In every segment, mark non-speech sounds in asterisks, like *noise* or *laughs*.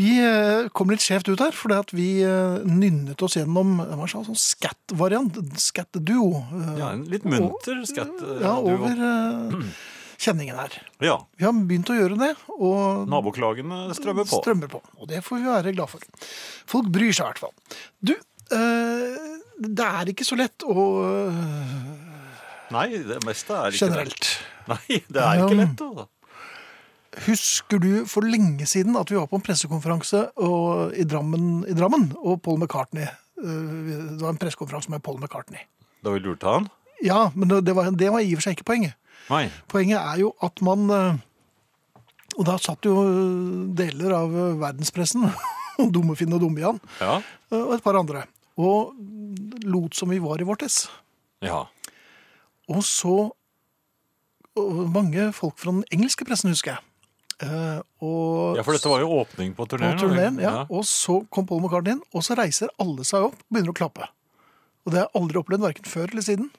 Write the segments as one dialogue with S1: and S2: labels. S1: Vi eh, kom litt skjevt ut her, fordi at vi eh, nynnet oss gjennom hva sa, sånn scat-variant, scat-duo, eh,
S2: Ja, en litt munter skatt. eh,
S1: ja,
S2: du
S1: over
S2: og-
S1: eh, kjenningen her.
S2: Ja,
S1: Vi har begynt å gjøre det, og
S2: naboklagene strømmer på.
S1: strømmer på. Og det får vi være glad for. Folk bryr seg i hvert fall. Du, eh, det er ikke så lett å eh,
S2: Nei, det meste er ikke
S1: Generelt.
S2: lett. Nei, det er ikke
S1: Ja.
S2: lett, altså.
S1: Husker du for lenge siden at vi var på en pressekonferanse og, i, Drammen, i Drammen, og Paul McCartney eh, Det var en pressekonferanse med Paul McCartney.
S2: Da vi lurte han?
S1: Ja, men det det var, det var i og for seg ikke poenget.
S2: Nei.
S1: Poenget er jo at man eh, Og da satt jo deler av eh, verdenspressen, *laughs* Dummefinn og Dummian,
S2: Ja.
S1: og et par andre, og lot som vi var i Vortes.
S2: Ja.
S1: Og så og mange folk fra den engelske pressen, husker jeg. Eh, og
S2: ja, for dette var jo åpning på
S1: på
S2: turneen.
S1: turneen, ja. Og så kom Paul McCartney inn, og så reiser alle seg opp og begynner å klappe. Og det har jeg aldri opplevd, verken før eller siden.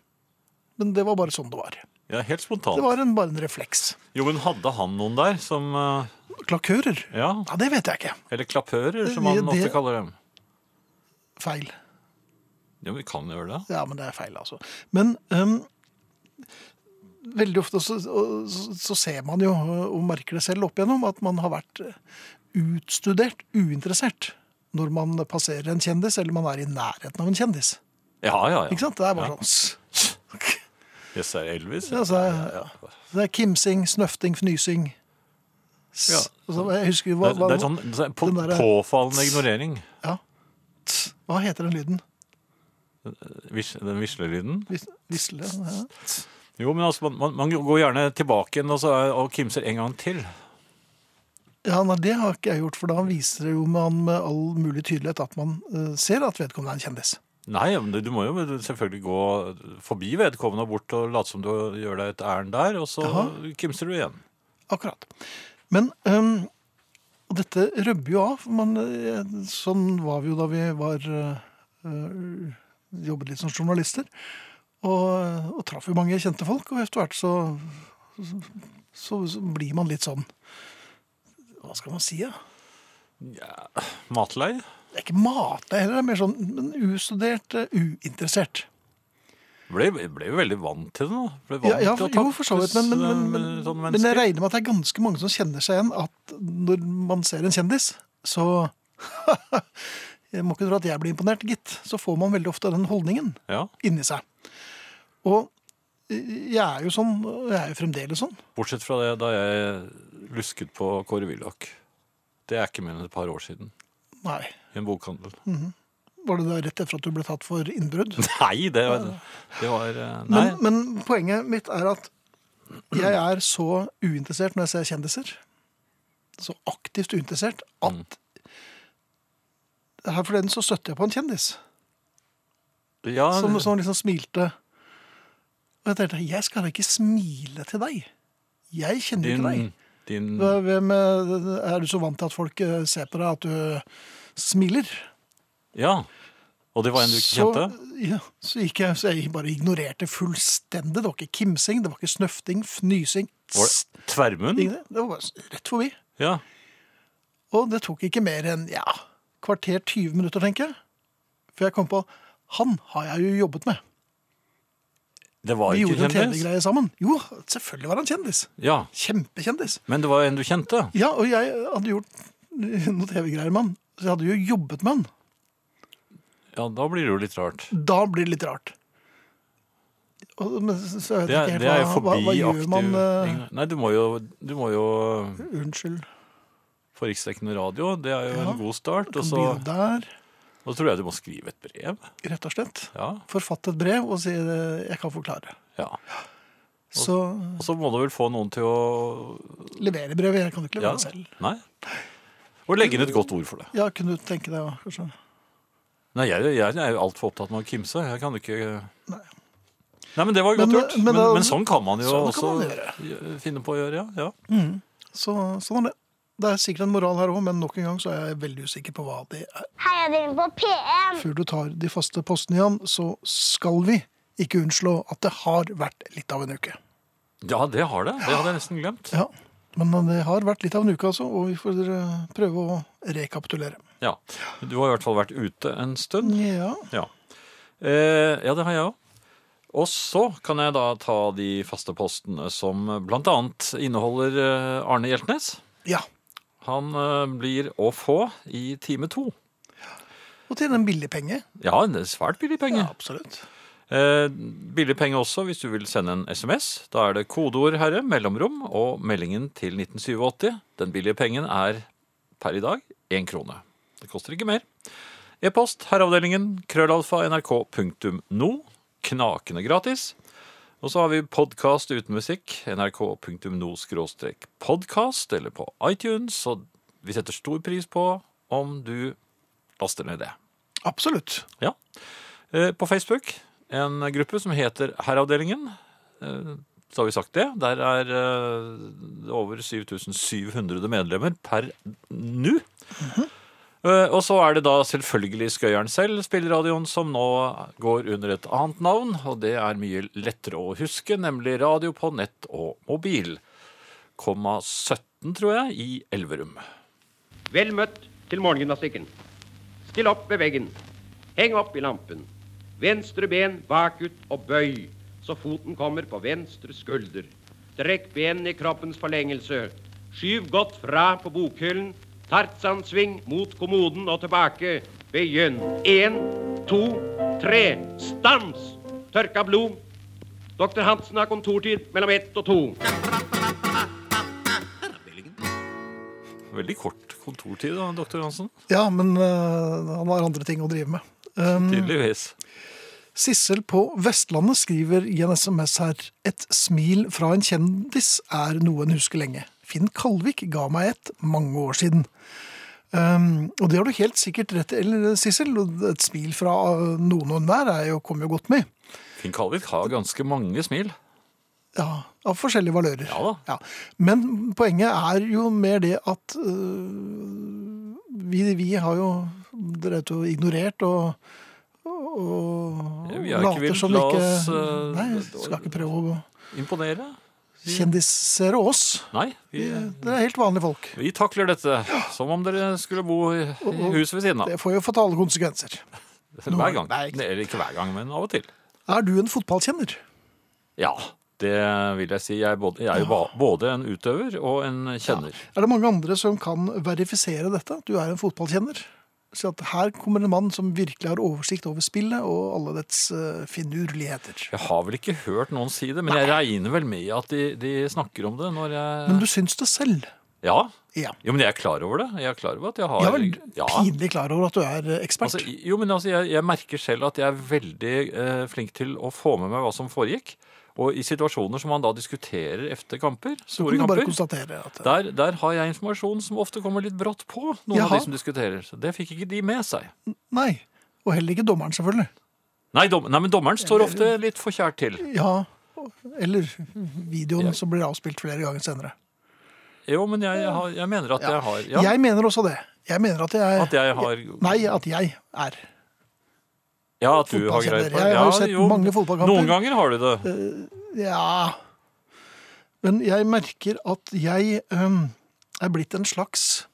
S1: Men det var bare sånn det var.
S2: Ja, helt
S1: Det
S2: spontant.
S1: var en, bare en refleks.
S2: Jo, men hadde han noen der som eh,
S1: Klakører?
S2: Ja.
S1: Ja, det vet jeg ikke.
S2: Eller klapører, som han
S1: Det- det-
S2: ofte kaller dem.
S1: Feil.
S2: Ja, vi kan gjøre det.
S1: Ja, men det er feil, altså. Men øhm, veldig ofte så, og- så, så ser man jo, og merker det selv opp igjennom, at man har vært utstudert, uinteressert, når man passerer en kjendis, eller man er i nærheten av en kjendis.
S2: Ja, ja, ja.
S1: Ikke sant? Det er bare
S2: Ja.
S1: sånn «Sss».
S2: Yes, er Elvis.
S1: Ja, altså. så er- Det er kimsing, snøfting, fnysing. S-
S2: Ja.
S1: Altså, jeg husker hva,
S2: Det,
S1: hva,
S2: det er sånn det er på,
S1: den derre-
S2: påfallende ignorering.
S1: ja.
S2: sånn-
S1: Tss, hva heter den lyden?
S2: Vis, den vislelyden.
S1: Vis- Visle? Ja.
S2: Jo, men altså, man- man, man går gjerne tilbake igjen og, så er, og kimser en gang til.
S1: ja, nei, det har ikke jeg gjort, for da viser det jo man med all mulig tydelighet at man eh, ser at vedkommende er en kjendis.
S2: Nei, men du, du må jo selvfølgelig gå forbi vedkommende og bort og late som du gjør deg et ærend der, og så kimser du igjen.
S1: Akkurat. Men øhm, og dette røbber jo av. Man, eh, sånn var vi jo da vi var eh, øh, jobbet litt som journalister. Og, og traff jo mange kjente folk, og etter hvert så, så, så blir man litt sånn Hva skal man si, da?
S2: Matlei?
S1: Det er ikke mate heller, det er mer sånn men ustudert, eh, uinteressert.
S2: Ble, ble jo veldig vant til det nå. Ble vant
S1: Ja, ja,
S2: til å
S1: jo, for så vidt, men, men, men, men,
S2: taktes, eh, sånne
S1: men jeg
S2: mennesker.
S1: regner med at det er ganske mange som kjenner seg igjen at når man ser en kjendis, så *laughs* Jeg må ikke tro at jeg blir imponert, gitt. Så får man veldig ofte den holdningen
S2: Ja,
S1: inni seg. Og jeg er jo sånn, og jeg er jo fremdeles sånn.
S2: bortsett fra det da jeg lusket på Kåre Willoch. Det er ikke mer enn et par år siden.
S1: Nei.
S2: I en bokhandel.
S1: Mm. Var det da rett etter at du ble tatt for innbrudd?
S2: *laughs* Nei, det var, det var eh, Nei.
S1: Men, men poenget mitt er at jeg er så uinteressert når jeg ser kjendiser. Så aktivt uinteressert at
S2: Mm.
S1: Her forleden så støtte jeg på en kjendis
S2: ja,
S1: som, som liksom smilte. Og jeg tenkte jeg skal da ikke smile til deg. Jeg kjenner jo ikke deg.
S2: din, din
S1: Hva- Hvem er, er du så vant til at folk eh, ser på deg at du smiler?
S2: Ja. Og det var en du ikke kjente?
S1: Så, ja, så gikk jeg, så jeg bare ignorerte fullstendig. Det var ikke kimsing, det var ikke snøfting, fnysing.
S2: Var det Tvermund?
S1: Ingen- Det var bare rett forbi.
S2: Ja.
S1: Og det tok ikke mer enn ja, kvarter 20 minutter, tenker jeg. For jeg kom på han har jeg jo jobbet med.
S2: Det var
S1: Vi
S2: ikke
S1: gjorde en
S2: kjendis?
S1: TV-greie sammen. Jo, selvfølgelig var han kjendis.
S2: Ja.
S1: Kjempekjendis.
S2: Men det var en du kjente?
S1: Ja, og jeg hadde gjort noen TV-greier med han. Så jeg hadde jo jobbet med han.
S2: Ja, da blir det jo litt rart.
S1: Da blir det litt rart. Og, men, så så jeg vet
S2: Det er,
S1: ikke helt
S2: det er jo
S1: hva, hva,
S2: forbi
S1: hva gjør
S2: aktiv
S1: man eh,
S2: igno- Nei, du må jo, du må jo
S1: Unnskyld.
S2: få riksdekkende radio. Det er jo
S1: Ja.
S2: en god start. Og
S1: Kan
S2: så,
S1: begynne der,
S2: og så tror jeg du må skrive et brev.
S1: rett og slett.
S2: Ja.
S1: Forfatte et brev og si eh, 'jeg kan forklare'.
S2: ja.
S1: Så
S2: Og så må du vel få noen til å
S1: levere brevet. Jeg kan jo ikke levere det selv.
S2: Nei. Og legge inn et godt ord for det.
S1: Ja, kunne du tenke deg, sånn? ja, kanskje?
S2: Nei, jeg, jeg er jo altfor opptatt med å kimse. Jeg kan ikke Nei, men det var
S1: Men,
S2: godt
S1: eh,
S2: gjort.
S1: men
S2: Men, men,
S1: da-
S2: sånn kan man jo
S1: sånn kan
S2: også
S1: man
S2: finne på å gjøre. ja. ja.
S1: Så, sånn er det. Det er sikkert en moral her òg, men nok en gang så er jeg veldig usikker på hva det er.
S3: Heia dere på P1!
S1: Før du tar de faste postene, Jan, så skal vi ikke unnslå at det har vært litt av en uke.
S2: Ja, det har det. Det hadde jeg nesten glemt.
S1: Ja, Men det har vært litt av en uke, altså, og vi får eh, prøve å rekapitulere.
S2: Ja. Du har i hvert fall vært ute en stund.
S1: Ja,
S2: Ja, eh, ja det har jeg òg. Og så kan jeg da ta de faste postene som bl.a. inneholder eh, Arne Hjeltnes.
S1: ja.
S2: Han eh, blir å få i time to.
S1: Og til en billig penge.
S2: Ja, en svært billig penge.
S1: Ja, absolutt.
S2: Eh, billig penge også hvis du vil sende en SMS. Da er det kodeord 'herre', mellomrom og meldingen til 1987. Den billige pengen er per i dag én krone. Det koster ikke mer. E-post herreavdelingen krøllalfa nrk.no. Knakende gratis. Og så har vi podkast uten musikk. nrk.no-podkast eller på iTunes. Og vi setter stor pris på om du laster ned det.
S1: Absolutt.
S2: Ja. Eh, På Facebook, en gruppe som heter Herreavdelingen. Eh, Så har vi sagt det. Der er eh, det over 7700 medlemmer per nå. Eh, Og så er det da selvfølgelig Skøyeren selv, spilleradioen, som nå går under et annet navn. Og det er mye lettere å huske, nemlig radio på nett og mobil. Komma 17, tror jeg, i Elverum.
S4: Vel møtt til morgengymnastikken. Still opp ved veggen. Heng opp i lampen. Venstre ben bakut og bøy, så foten kommer på venstre skulder. Trekk benene i kroppens forlengelse. Skyv godt fra på bokhyllen. Tartsansving mot kommoden og tilbake. Begynn. Én, to, tre. Stans! Tørka blod. Doktor Hansen har kontortid mellom ett og to.
S2: Veldig kort kontortid, da, doktor Hansen.
S1: Ja, men eh, han har andre ting å drive med. Um,
S2: Tydeligvis.
S1: Sissel på Vestlandet skriver i en SMS her Et smil fra en kjendis er noe en husker lenge. Finn Kalvik ga meg et mange år siden. Um, og det har du helt sikkert rett i, eller, Sissel. og Et smil fra uh, noen og enhver er jo- kommer jo godt med.
S2: Finn Kalvik har ganske mange smil.
S1: Ja, Av forskjellige valører.
S2: Ja da.
S1: Men poenget er jo mer det at øh, vi, vi har jo drevet og ignorert og, og
S2: Ja, Eh, vi har ikke villet la oss, øh,
S1: Nei, skal ikke prøve å
S2: Imponere?
S1: kjendisere oss.
S2: Nei. Vi,
S1: Dere er helt vanlige folk.
S2: vi takler dette som om dere skulle bo i i huset ved siden av.
S1: Det får jo fatale konsekvenser.
S2: Hver gang. Eller ikke hver gang, men av og til.
S1: Er du en fotballkjenner?
S2: Ja, det vil jeg si. Jeg er, både, jeg er jo ba- både en utøver og en kjenner.
S1: Er det mange andre som kan verifisere dette? at Du er en fotballkjenner? Så at her kommer en mann som virkelig har oversikt over spillet og alle dets øh, finurligheter.
S2: Jeg har vel ikke hørt noen si det, men jeg regner vel med at de, de snakker om det når jeg
S1: Men du syns det selv?
S2: Ja.
S1: Ja.
S2: Jo, men jeg er klar over det. Jeg er klar over at jeg har
S1: Jeg er vel pinlig klar over at du er eh, ekspert.
S2: Altså, jo, men altså, jeg, jeg merker selv at jeg er veldig eh, flink til å få med meg hva som foregikk. Og i situasjoner som man da diskuterer efter kamper,
S1: så
S2: store
S1: kan du bare
S2: kamper,
S1: konstatere at
S2: der, der har jeg informasjon som ofte kommer litt brått på noen av
S1: Jaha.
S2: de som diskuterer. Så det fikk ikke de med seg.
S1: Nei. Og heller ikke dommeren, selvfølgelig.
S2: Nei, dom, nei men dommeren står ofte litt for kjært til.
S1: Ja. Eller videoen som blir avspilt flere ganger senere.
S2: Jo, men jeg, jeg, har, jeg mener at jeg har ja,
S1: Jeg mener også det. Jeg mener at jeg,
S2: At jeg har
S1: Nei, at jeg er.
S2: Ja, at du har greie på det.
S1: Jeg har jo
S2: Ja,
S1: sett mange fotballkamper. Eh.
S2: Noen ganger har du det.
S1: Ja Men jeg merker at jeg øhm, er blitt en slags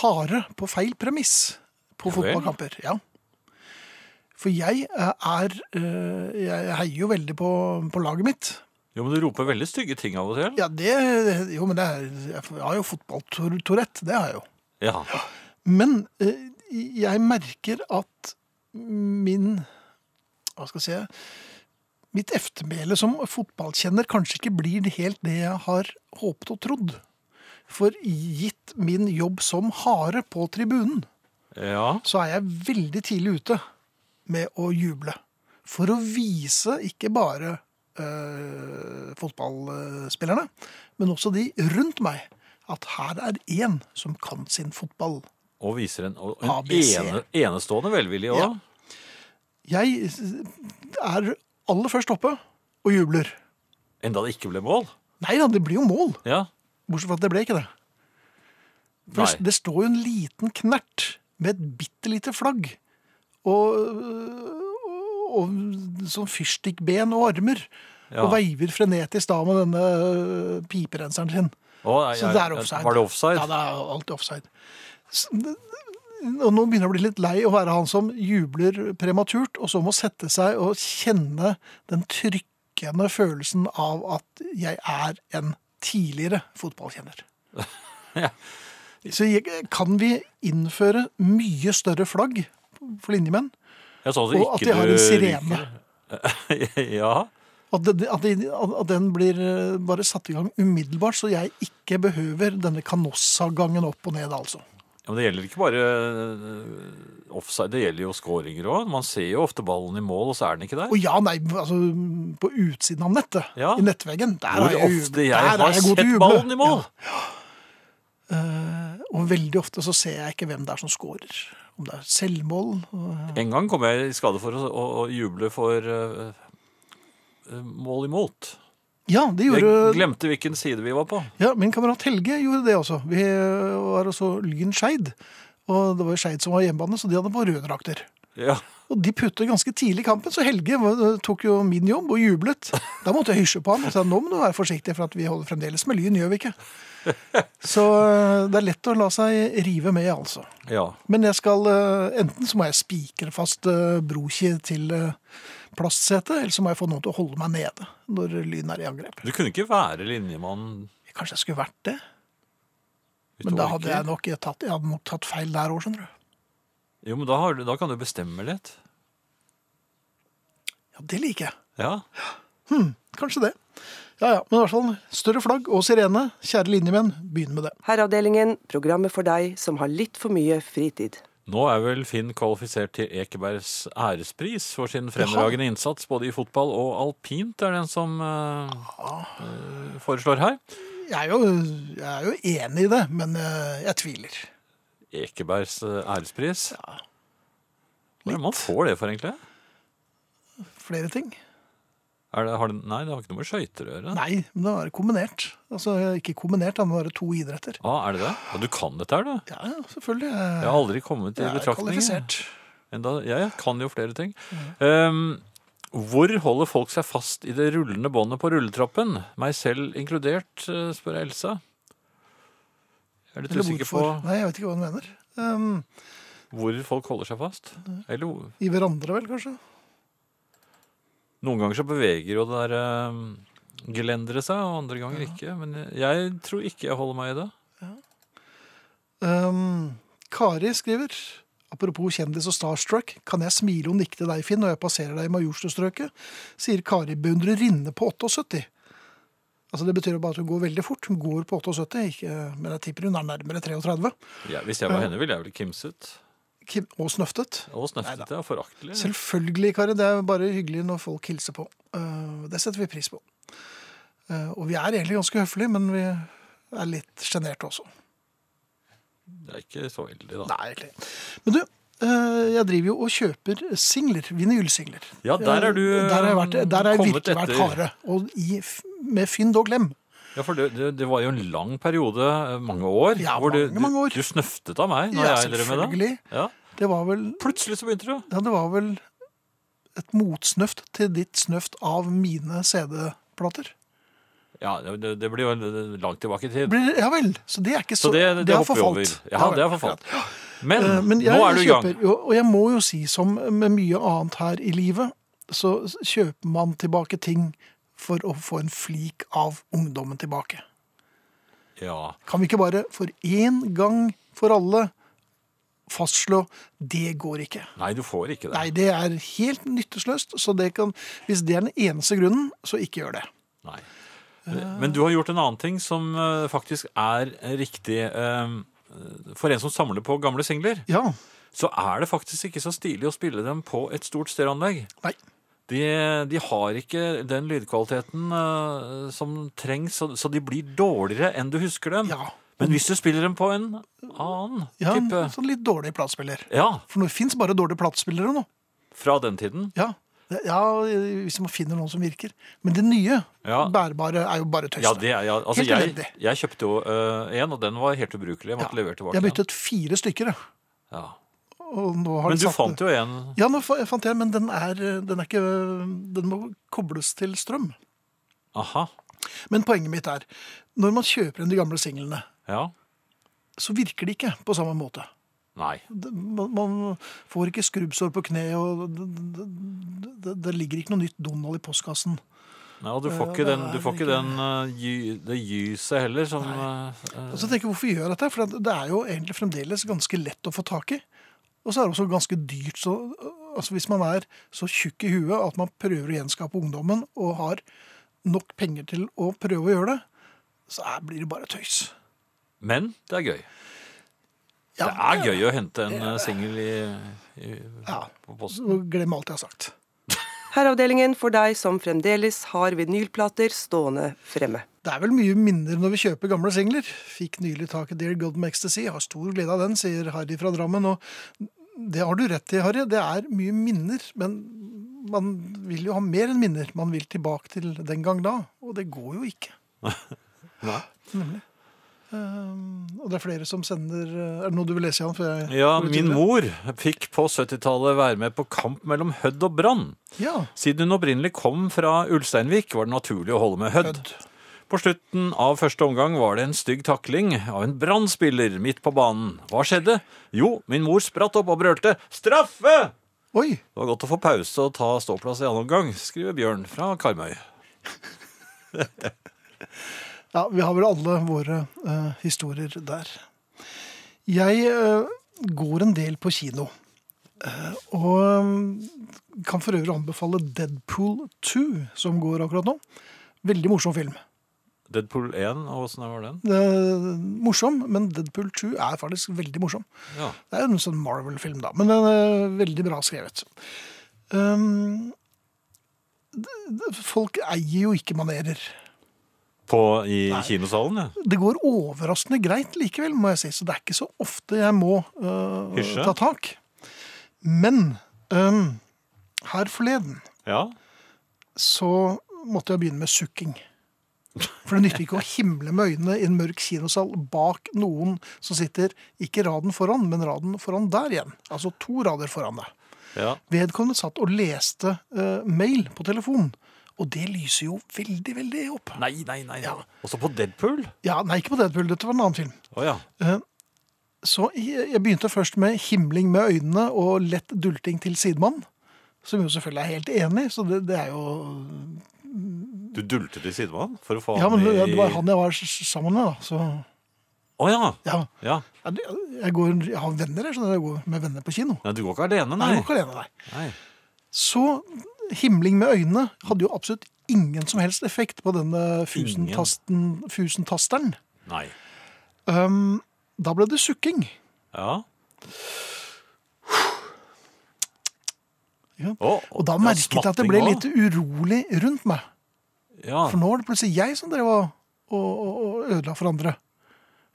S1: hare på feil premiss på
S2: vel.
S1: fotballkamper. Ja. For jeg eh, er øh, Jeg heier jo veldig på, på laget mitt.
S2: Jo, men du roper veldig stygge ting av og til.
S1: Ja, det Jo, men det er, jeg har jo fotball-Tourette. Det har jeg jo.
S2: Ja.
S1: Men eh, jeg merker at min Hva skal jeg si Mitt eftermæle som fotballkjenner kanskje ikke blir det helt det jeg har håpet og trodd. For gitt min jobb som hare på tribunen,
S2: ja.
S1: så er jeg veldig tidlig ute med å juble. For å vise ikke bare eh, fotballspillerne, men også de rundt meg, at her er én som kan sin fotball.
S2: Og viser en, og en
S1: ABC.
S2: ene, enestående velvilje òg.
S1: Ja. Jeg er aller først oppe og jubler.
S2: Enda det ikke ble mål.
S1: Nei da, det blir jo mål.
S2: Ja.
S1: Bortsett fra at det ble ikke det. For
S2: Nei.
S1: det- det står jo en liten knert med et bitte lite flagg. Og, og, og sånn fyrstikkben og armer.
S2: Ja.
S1: Og veiver frenetisk da med denne øh, piperenseren sin.
S2: Å, nei,
S1: Så
S2: jeg-
S1: det er offside.
S2: Var det offside?
S1: Ja, det er alltid offside. S- Og nå begynner jeg å bli litt lei å være han som jubler prematurt, og så må sette seg og kjenne den trykkende følelsen av at jeg er en tidligere fotballkjenner.
S2: *laughs* Ja.
S1: Så jeg, kan vi innføre mye større flagg for linjemenn?
S2: Jeg sa altså
S1: Og
S2: ikke
S1: at de har
S2: du
S1: en sirene.
S2: ryker. *laughs* ja.
S1: At, det, at, det, at den blir eh, bare satt i gang umiddelbart, så jeg ikke behøver denne kanossagangen opp og ned, altså.
S2: ja, men det gjelder ikke bare øh, offside, det gjelder jo skåringer òg. Man ser jo ofte ballen i mål, og så er den ikke der.
S1: Å ja, nei, altså på utsiden av nettet.
S2: Ja.
S1: I nettveggen. Der
S2: Hvor
S1: er jeg,
S2: ofte
S1: jubel-
S2: jeg
S1: der er
S2: har
S1: god til å
S2: sett
S1: juble.
S2: ballen i mål!
S1: Ja. Og veldig ofte så ser jeg ikke hvem det er som scorer. Om det er selvmål og-
S2: En gang kom jeg i skade for å, å, å juble for øh, øh, mål imot.
S1: Ja, det
S2: Jeg
S1: gjorde
S2: glemte hvilken side vi var på.
S1: ja, Min kamerat Helge gjorde det også. Vi var også Lyn Skeid. Og det var jo Skeid som var hjemmebane, så de hadde på røde drakter.
S2: Ja.
S1: Og de puttet ganske tidlig i kampen, så Helge var- eh, tok jo min jobb og jublet. Da måtte jeg hysje på ham og sa nå må du være forsiktig, for at vi holder fremdeles med lyn, gjør vi ikke? Så eh, det er lett å la seg rive med, altså.
S2: ja.
S1: Men jeg skal, eh, enten så må jeg spikre fast eh, broki til eh, plastsetet, eller så må jeg få noen til å holde meg nede når lyn er i angrep.
S2: Du kunne ikke være linjemann
S1: Kanskje jeg skulle vært det,
S2: hvis
S1: men
S2: du
S1: da
S2: orker.
S1: hadde jeg nok tatt, jeg hadde nok tatt feil der òg, skjønner du.
S2: Jo, men da, har du, da kan du bestemme litt.
S1: Ja, det liker jeg.
S2: Ja.
S1: Kanskje det. Ja, ja, men i hvert fall større flagg og sirene. Kjære linjemenn, begynn med det.
S3: Herreavdelingen, programmet for deg som har litt for mye fritid.
S2: Nå er vel Finn kvalifisert til Ekebergs ærespris for sin fremragende innsats både i fotball og alpint, er det en som eh,
S1: Ah.
S2: eh, foreslår her.
S1: Jeg er jo, jeg er jo enig i det, men eh, jeg tviler.
S2: Ekebergs eh, ærespris. Hva er det man får det for, egentlig?
S1: Flere ting.
S2: Er det, har det, nei, det har ikke noe med skøyter å gjøre.
S1: Nei, men det må være kombinert. Altså, ikke kombinert, det må være to idretter.
S2: Ah, er det det? Ja, du kan dette her, du.
S1: Ja, ja, selvfølgelig.
S2: Jeg har aldri kommet i
S1: Jeg er
S2: betraktning.
S1: kvalifisert.
S2: Enda, jeg kan jo flere ting. Ehm, hvor holder folk seg fast i det rullende båndet på rulletrappen? Meg selv inkludert, eh, spør Elsa. Jeg er litt
S1: Eller
S2: usikker
S1: hvorfor?
S2: på
S1: Nei, jeg vet ikke hva hun mener. Ehm,
S2: hvor folk holder seg fast. Eller hvor-
S1: I hverandre vel, kanskje?
S2: Noen ganger så beveger jo det der um, gelenderet seg, og andre ganger ikke. Men jeg- jeg tror ikke jeg holder meg i det.
S1: Ehm, Kari skriver Apropos kjendis og starstruck, kan jeg smile og nikke til deg, Finn, når jeg passerer deg i Majorstustrøket? Sier Kari beundrerinne på 78. Altså Det betyr jo bare at hun går veldig fort. Hun går på 78, ikke, men jeg tipper hun er nærmere 33.
S2: Ja, hvis jeg var henne, ville jeg vel kimset.
S1: Kim- Og snøftet.
S2: Og snøftet jeg, og foraktelig.
S1: Selvfølgelig, Kari. Det er bare hyggelig når folk hilser på. Eh, Det setter vi pris på. Eh, Og vi er egentlig ganske høflige, men vi er litt sjenerte også.
S2: Det er ikke så veldig, da.
S1: Nei, egentlig. Men du, eh, jeg driver jo og kjøper singler. Vinylsingler. Eh,
S2: Ja, der er du,
S1: Der har jeg, vært, der har jeg
S2: kommet
S1: virkelig vært
S2: etter.
S1: harde. Og i, f- med fynd og glem.
S2: Ja, for det, det, det var jo en lang periode, eh, mange år,
S1: Ja,
S2: hvor du,
S1: mange, mange år.
S2: du, du snøftet av meg når
S1: Ja,
S2: jeg drev med det.
S1: selvfølgelig.
S2: Ja.
S1: Det var vel
S2: Plutselig så begynte du.
S1: Ja, det var vel et motsnøft til ditt snøft av mine CD-plater.
S2: Ja, det, det blir jo langt tilbake i tid.
S1: Blir det- Ja vel. Så det er ikke
S2: Så
S1: så,
S2: det, det,
S1: har
S2: hopper vi over.
S1: forfalt.
S2: Ja,
S1: vel,
S2: det har forfalt. Men,
S1: Eh, Men jeg
S2: nå er du i gang.
S1: kjøper, jo, og jeg må jo si, som med mye annet her i livet, så kjøper man tilbake ting for å få en flik av ungdommen tilbake.
S2: Ja.
S1: Kan vi ikke bare for én gang for alle fastslå det går ikke?
S2: Nei, du får ikke det.
S1: Nei, det er helt nytteløst, så det kan, hvis det er den eneste grunnen, så ikke gjør det.
S2: Nei. Men du har gjort en annen ting som eh, faktisk er riktig. Eh, For en som samler på gamle singler,
S1: Ja,
S2: så er det faktisk ikke så stilig å spille dem på et stort stereoanlegg.
S1: nei.
S2: De, de har ikke den lydkvaliteten eh, som trengs, så, så de blir dårligere enn du husker dem.
S1: Ja.
S2: Men hvis du spiller dem på en annen
S1: Ja, en
S2: type
S1: sånn litt dårlig platespiller.
S2: Ja,
S1: For det fins bare dårlige platespillere nå.
S2: fra den tiden.
S1: Ja. ja, hvis man finner noen som virker. Men det nye,
S2: Ja.
S1: bærbare, er jo bare tøys.
S2: Ja, det er, ja, altså
S1: Helt
S2: jeg,
S1: elendig.
S2: jeg kjøpte jo eh, en, og den var helt ubrukelig. Jeg måtte levere tilbake
S1: Jeg
S2: den.
S1: byttet fire stykker, jeg.
S2: Ja.
S1: og nå har
S2: Men
S1: de
S2: du
S1: satt
S2: fant
S1: det.
S2: jo en
S1: Ja, nå fa- fant jeg, men den er, den er ikke Den må kobles til strøm.
S2: Aha.
S1: Men poenget mitt er når man kjøper inn de gamle singlene,
S2: Ja.
S1: så virker de ikke på samme måte.
S2: Nei.
S1: Det- Man, man får ikke skrubbsår på kneet, og det, det, det, det ligger ikke noe nytt Donald i postkassen.
S2: Nei, og du får
S1: Ja,
S2: ikke
S1: det
S2: den,
S1: er
S2: du får ikke
S1: ikke-
S2: den eh, gy- det gyset heller, som eh, eh,
S1: Og så tenker jeg, Hvorfor gjør jeg dette? For at det er jo egentlig fremdeles ganske lett å få tak i. Og så er det også ganske dyrt. Så, altså Hvis man er så tjukk i huet at man prøver å gjenskape ungdommen og har nok penger til å prøve å gjøre det, så er, blir det bare tøys.
S2: Men det er gøy.
S1: Ja,
S2: Det er gøy å hente en eh, singel i, i,
S1: Ja.
S2: på posten.
S1: Så glem alt jeg har sagt.
S3: Herreavdelingen for deg som fremdeles har vinylplater stående fremme.
S1: Det er vel mye mindre når vi kjøper gamle singler. Fikk nylig tak i Dear God Makes the Sea. Har stor glede av den, sier Harry fra Drammen. Og det har du rett i, Harry. Det er mye minner. Men man vil jo ha mer enn minner. Man vil tilbake til den gang da. Og det går jo ikke. Nemlig. Ehm, og det er flere som sender eh, Er det noe du vil lese, Jan? før jeg
S2: Ja,
S1: går ut i
S2: min
S1: det?
S2: mor fikk på 70-tallet være med på kamp mellom Hødd og Brann.
S1: Ja.
S2: Siden hun opprinnelig kom fra Ulsteinvik, var det naturlig å holde med Hødd.
S1: Hødd.
S2: På slutten av første omgang var det en stygg takling av en brannspiller midt på banen. Hva skjedde? Jo, min mor spratt opp og brølte 'straffe'!
S1: Oi!
S2: Det var godt å få pause og ta ståplass i annen omgang, skriver Bjørn fra Karmøy.
S1: Ja, vi har vel alle våre eh, historier der. Jeg eh, går en del på kino. eh, og eh, kan for øvrig anbefale Deadpool 2, som går akkurat nå. Veldig morsom film.
S2: Deadpool 1, og åssen var den?
S1: Eh, morsom, men Deadpool 2 er faktisk veldig morsom.
S2: Ja.
S1: Det er jo en sånn Marvel-film, da, men den er eh, veldig bra skrevet. Um, d- d- folk eier jo ikke manerer.
S2: På, I kinosalen, ja.
S1: Det går overraskende greit likevel, må jeg si, så det er ikke så ofte jeg må øh,
S2: Hysje.
S1: ta tak. Men øhm, her forleden
S2: ja.
S1: så måtte jeg begynne med sukking. For det nytter ikke å himle med øynene i en mørk kinosal bak noen som sitter ikke raden foran, men raden foran der igjen. Altså to rader foran deg.
S2: ja.
S1: Vedkommende satt og leste øh, mail på telefon, og det lyser jo veldig, veldig opp.
S2: Nei, nei, nei.
S1: Ja.
S2: Også på Deadpool?
S1: Ja, nei, ikke på Deadpool, dette var en annen film.
S2: Å ja.
S1: Så jeg jeg begynte først med himling med øynene og lett dulting til sidemann. Som jo selvfølgelig er helt enig, så det, det er jo
S2: Du dultet i sidemann for å få
S1: Ja, men det,
S2: i
S1: det var han jeg var s- s- sammen med, da. Så
S2: Å ja.
S1: ja.
S2: ja.
S1: Ja, det- Jeg, går, jeg har venner, jeg, så jeg går med venner på kino.
S2: Nei, du går ikke alene,
S1: Nei.
S2: nei.
S1: Jeg går ikke alene, nei.
S2: nei.
S1: Så himling med øynene hadde jo absolutt ingen som helst effekt på denne fusentasten, fusentasteren.
S2: Nei.
S1: Um, da ble det sukking.
S2: Ja.
S1: Ja.
S2: Å,
S1: Og da
S2: ja,
S1: merket jeg at det
S2: smatting
S1: ble
S2: også.
S1: litt urolig rundt meg.
S2: ja.
S1: For nå er det plutselig jeg som drev og, og, og- og ødela for andre.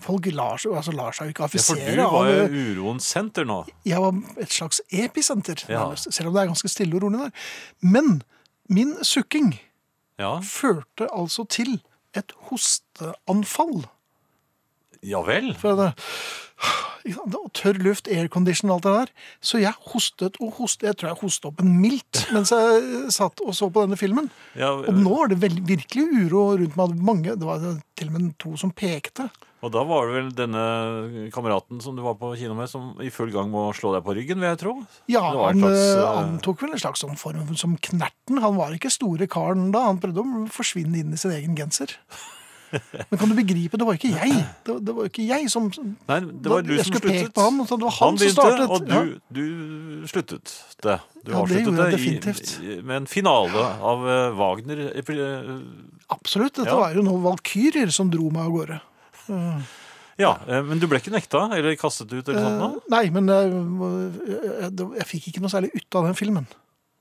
S1: Folk lar seg, altså, lar seg jo ikke
S2: ja, for
S1: affisere
S2: du var jo
S1: av eh,
S2: uroens senter nå.
S1: Jeg var et slags episenter,
S2: Ja.
S1: nærmest, selv om det er ganske stille og rolig der. Men min sukking
S2: Ja,
S1: førte altså til et hosteanfall.
S2: ja vel.
S1: For det, *sighs* ikke sant, det var tørr luft, aircondition og alt det der. Så jeg hostet og hostet. Jeg tror jeg hostet opp en milt mens jeg satt og så på denne filmen.
S2: Ja,
S1: Og nå var det vel- virkelig uro rundt meg. Mange, det var til og med to som pekte.
S2: Og da var det vel denne kameraten som du var på kino med, som i full gang må slå deg på ryggen, vil jeg tro.
S1: Ja,
S2: Det var en
S1: han
S2: slags,
S1: eh,
S2: eh,
S1: antok vel en slags sånn form som Knerten. Han var ikke store karen da. Han prøvde å forsvinne inn i sin egen genser. Men kan du begripe, det var ikke jeg. Det, det var ikke jeg som
S2: Nei, det var
S1: Da-
S2: du
S1: jeg
S2: som
S1: skulle peke
S2: sluttet.
S1: på ham, og så det var han som startet.
S2: og du,
S1: Ja.
S2: du sluttet det. Du
S1: Ja, det
S2: avsluttet
S1: gjorde jeg
S2: I,
S1: definitivt.
S2: i- med en finale av eh, Wagner. eh, eh,
S1: Absolutt. Dette
S2: Ja.
S1: var jo noen valkyrjer som dro meg av gårde.
S2: Ja, eh, men du ble ikke nekta eller kastet ut eller sånt
S1: Eh,
S2: noe?
S1: nei, men eh, jeg, jeg- jeg fikk ikke noe særlig ut av den filmen.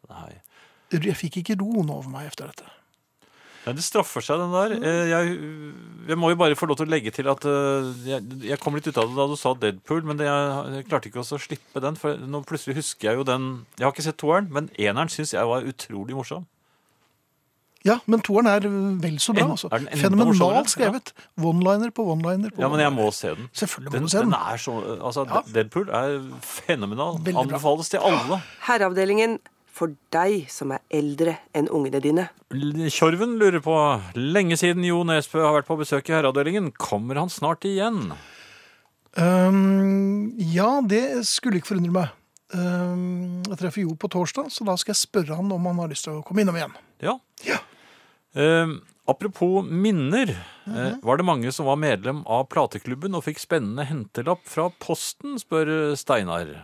S2: Nei.
S1: Jeg fikk ikke roen over meg etter dette.
S2: Nei, det straffer seg, den der. Eh, Jeg, jeg må jo bare få lov til å legge til at eh, jeg, jeg kom litt ut av det da du sa Deadpool, men det, jeg, jeg klarte ikke også å slippe den. For nå plutselig husker jeg jo den Jeg har ikke sett toeren, men eneren syns jeg var utrolig morsom.
S1: Ja, men toeren er vel så bra.
S2: En-
S1: Altså.
S2: er den enda morsommere?
S1: Fenomenalt skrevet. One-liner på one-liner. på
S2: Ja, men jeg
S1: one-liner.
S2: må se den.
S1: Selvfølgelig må
S2: Den,
S1: du se den.
S2: den er så, altså,
S1: Ja.
S2: Deadpool er fenomenal.
S1: Veldig bra.
S2: Anbefales til alle.
S3: Herreavdelingen for deg som er eldre enn ungene dine.
S2: L- Tjorven lurer på Lenge siden Jo Nesbø har vært på besøk i Herreavdelingen. Kommer han snart igjen?
S1: Øhm, ja, det skulle ikke forundre meg. Øhm, jeg treffer Jo på torsdag, så da skal jeg spørre han om han har lyst til å komme innom igjen.
S2: Ja.
S1: Ja.
S2: Eh, apropos minner. eh,
S1: Mhm.
S2: var det mange som var medlem av plateklubben og fikk spennende hentelapp fra posten, spør eh, Steinar.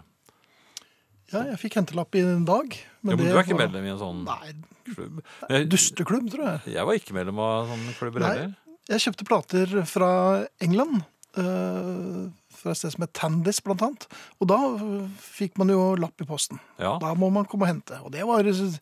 S1: Ja, jeg fikk hentelapp i en dag.
S2: jo, men
S1: det
S2: du er ikke
S1: var-
S2: medlem i en sånn
S1: Nei,
S2: klubb? Jeg,
S1: Dusteklubb, tror jeg.
S2: jeg var ikke medlem av sånne klubber
S1: Nei.
S2: heller.
S1: Jeg kjøpte plater fra England. øh, fra et sted som het Tandis, blant annet. Og da øh, fikk man jo lapp i posten.
S2: Ja.
S1: Da må man komme og hente. Og det var øh,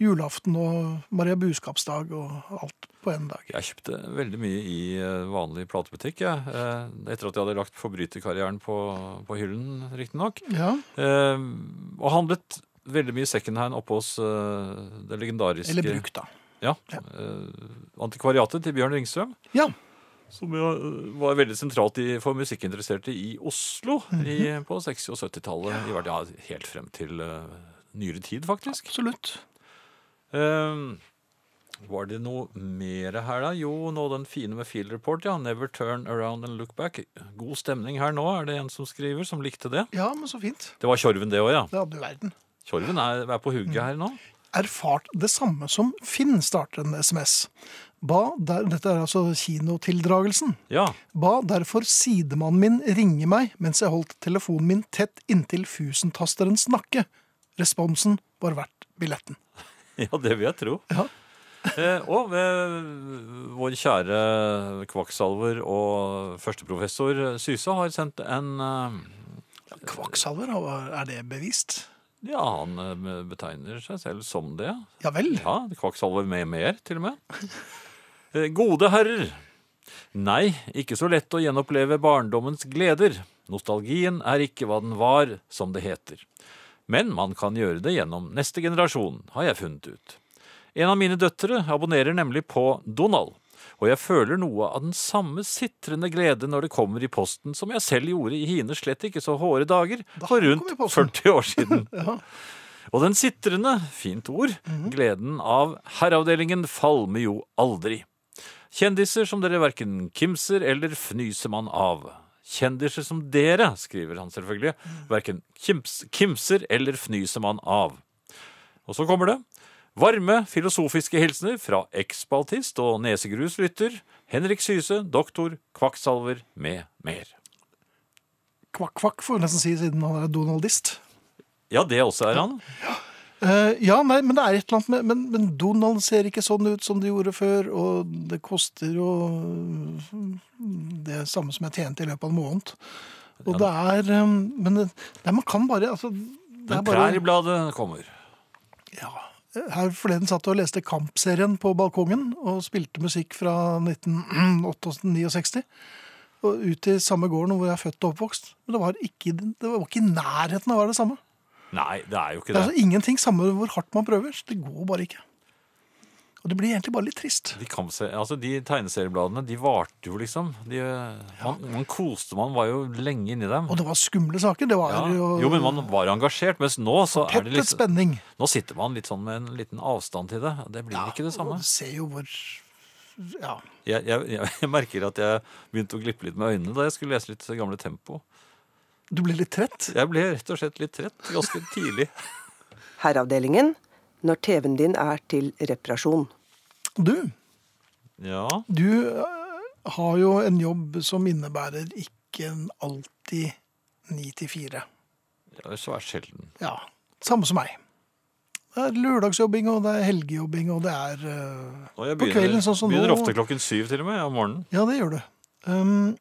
S1: julaften og Maria Buskapsdag og alt på én dag.
S2: Jeg kjøpte veldig mye i eh, vanlig platebutikk, jeg. eh, Etter at jeg hadde lagt forbryterkarrieren på, på hyllen, riktignok.
S1: Ja,
S2: Eh, og handlet veldig mye secondhand oppe hos eh, det legendariske
S1: Eller brukt, da.
S2: Ja,
S1: Ja.
S2: eh, Antikvariatet til Bjørn Ringstrøm.
S1: Ja.
S2: Som jo eh, var veldig sentralt i, for musikkinteresserte i Oslo i,
S1: Mhm.
S2: på 60- og 70-tallet. i hvert- Ja, helt frem til eh, nyere tid, faktisk.
S1: Absolutt.
S2: Eh, var det noe mer her, da? Jo, nå den fine med Field Report, ja. Never turn around and look back. God stemning her nå, er det en som skriver, som likte det.
S1: Ja, men så fint.
S2: Det var Tjorven, det òg, ja.
S1: Det hadde jo verden.
S2: Tjorven er, er på hugget her nå.
S1: Erfart det samme som Finn starter en SMS. Ba der, dette er altså kinotildragelsen.
S2: Ja.
S1: Ba derfor sidemannen min ringe meg mens jeg holdt telefonen min tett inntil fusentasterens nakke. Responsen var verdt billetten.
S2: *laughs* Ja, det vil jeg tro.
S1: Ja.
S2: *laughs* Eh, og eh, vår kjære kvakksalver og førsteprofessor Syse har sendt en eh,
S1: Kvakksalver, er det bevist?
S2: Ja, han eh, betegner seg selv som det.
S1: Ja vel.
S2: Ja, Kvakksalver med mer, til og med. Eh, Gode herrer. Nei, ikke så lett å gjenoppleve barndommens gleder. Nostalgien er ikke hva den var, som det heter. Men man kan gjøre det gjennom neste generasjon, har jeg funnet ut. En av mine døtre abonnerer nemlig på Donald, og jeg føler noe av den samme sitrende glede når det kommer i posten som jeg selv gjorde i hine slett ikke så hårde dager for rundt
S1: kom i posten.
S2: 40 år
S1: *laughs*
S2: siden. Og den sitrende, fint ord,
S1: Mhm.
S2: gleden av herreavdelingen falmer jo aldri. Kjendiser som dere verken kimser eller fnyser man av. Kjendiser som dere, skriver han selvfølgelig, verken kims, kimser eller fnyser man av. Og så kommer det. Varme filosofiske hilsener fra eksspaltist og nesegruslytter Henrik Syse, doktor, kvakksalver med mer.
S1: Kvakk-kvakk, får vi nesten si, siden han er donaldist.
S2: Ja, det også er han.
S1: Eh, ja, nei, men det er et eller annet med men, men Donald ser ikke sånn ut som det gjorde før, og det koster jo mm, det samme som jeg tjente i løpet av en måned. Og det er eh, Men det, nei, man kan bare altså, det er
S2: Men
S1: bare,
S2: Præriebladet kommer.
S1: ja, Her forleden satt jeg og leste Kampserien på balkongen og spilte musikk fra 1969. Og ut til samme gården hvor jeg er født og oppvokst. Men det var ikke, det var ikke i nærheten av å være det samme.
S2: Nei, det er jo ikke
S1: Det er
S2: det.
S1: altså ingenting samme hvor hardt man prøver. så Det går bare ikke. Og det blir egentlig bare litt trist.
S2: De, kan se, altså de tegneseriebladene de varte jo, liksom. De, man, man koste man var jo lenge inni dem.
S1: Og det var skumle saker. Det var
S2: Ja.
S1: jo,
S2: Jo, men man var engasjert. Mens nå så er
S1: tettet
S2: det liksom? litt,
S1: spenning.
S2: Nå sitter man litt sånn med en liten avstand til det. Det blir ikke det samme.
S1: Og ser jo hvor Ja.
S2: Jeg, jeg, jeg, jeg merker at jeg begynte å glippe litt med øynene da jeg skulle lese litt gamle Tempo.
S1: Du blir litt trett.
S2: Jeg ble rett og slett litt trett ganske tidlig.
S3: Herreavdelingen når TV-en din er til reparasjon.
S1: Du,
S2: Ja,
S1: du øh, har jo en jobb som innebærer ikke en alltid ni til fire.
S2: jeg er svært sjelden.
S1: Ja. Samme som meg. Det er lørdagsjobbing, og det er helgejobbing, og det er øh,
S2: Og jeg
S1: På
S2: begynner,
S1: kvelden, sånn som
S2: begynner
S1: nå.
S2: ofte klokken syv til og med om morgenen.
S1: Ja, det gjør du. Um,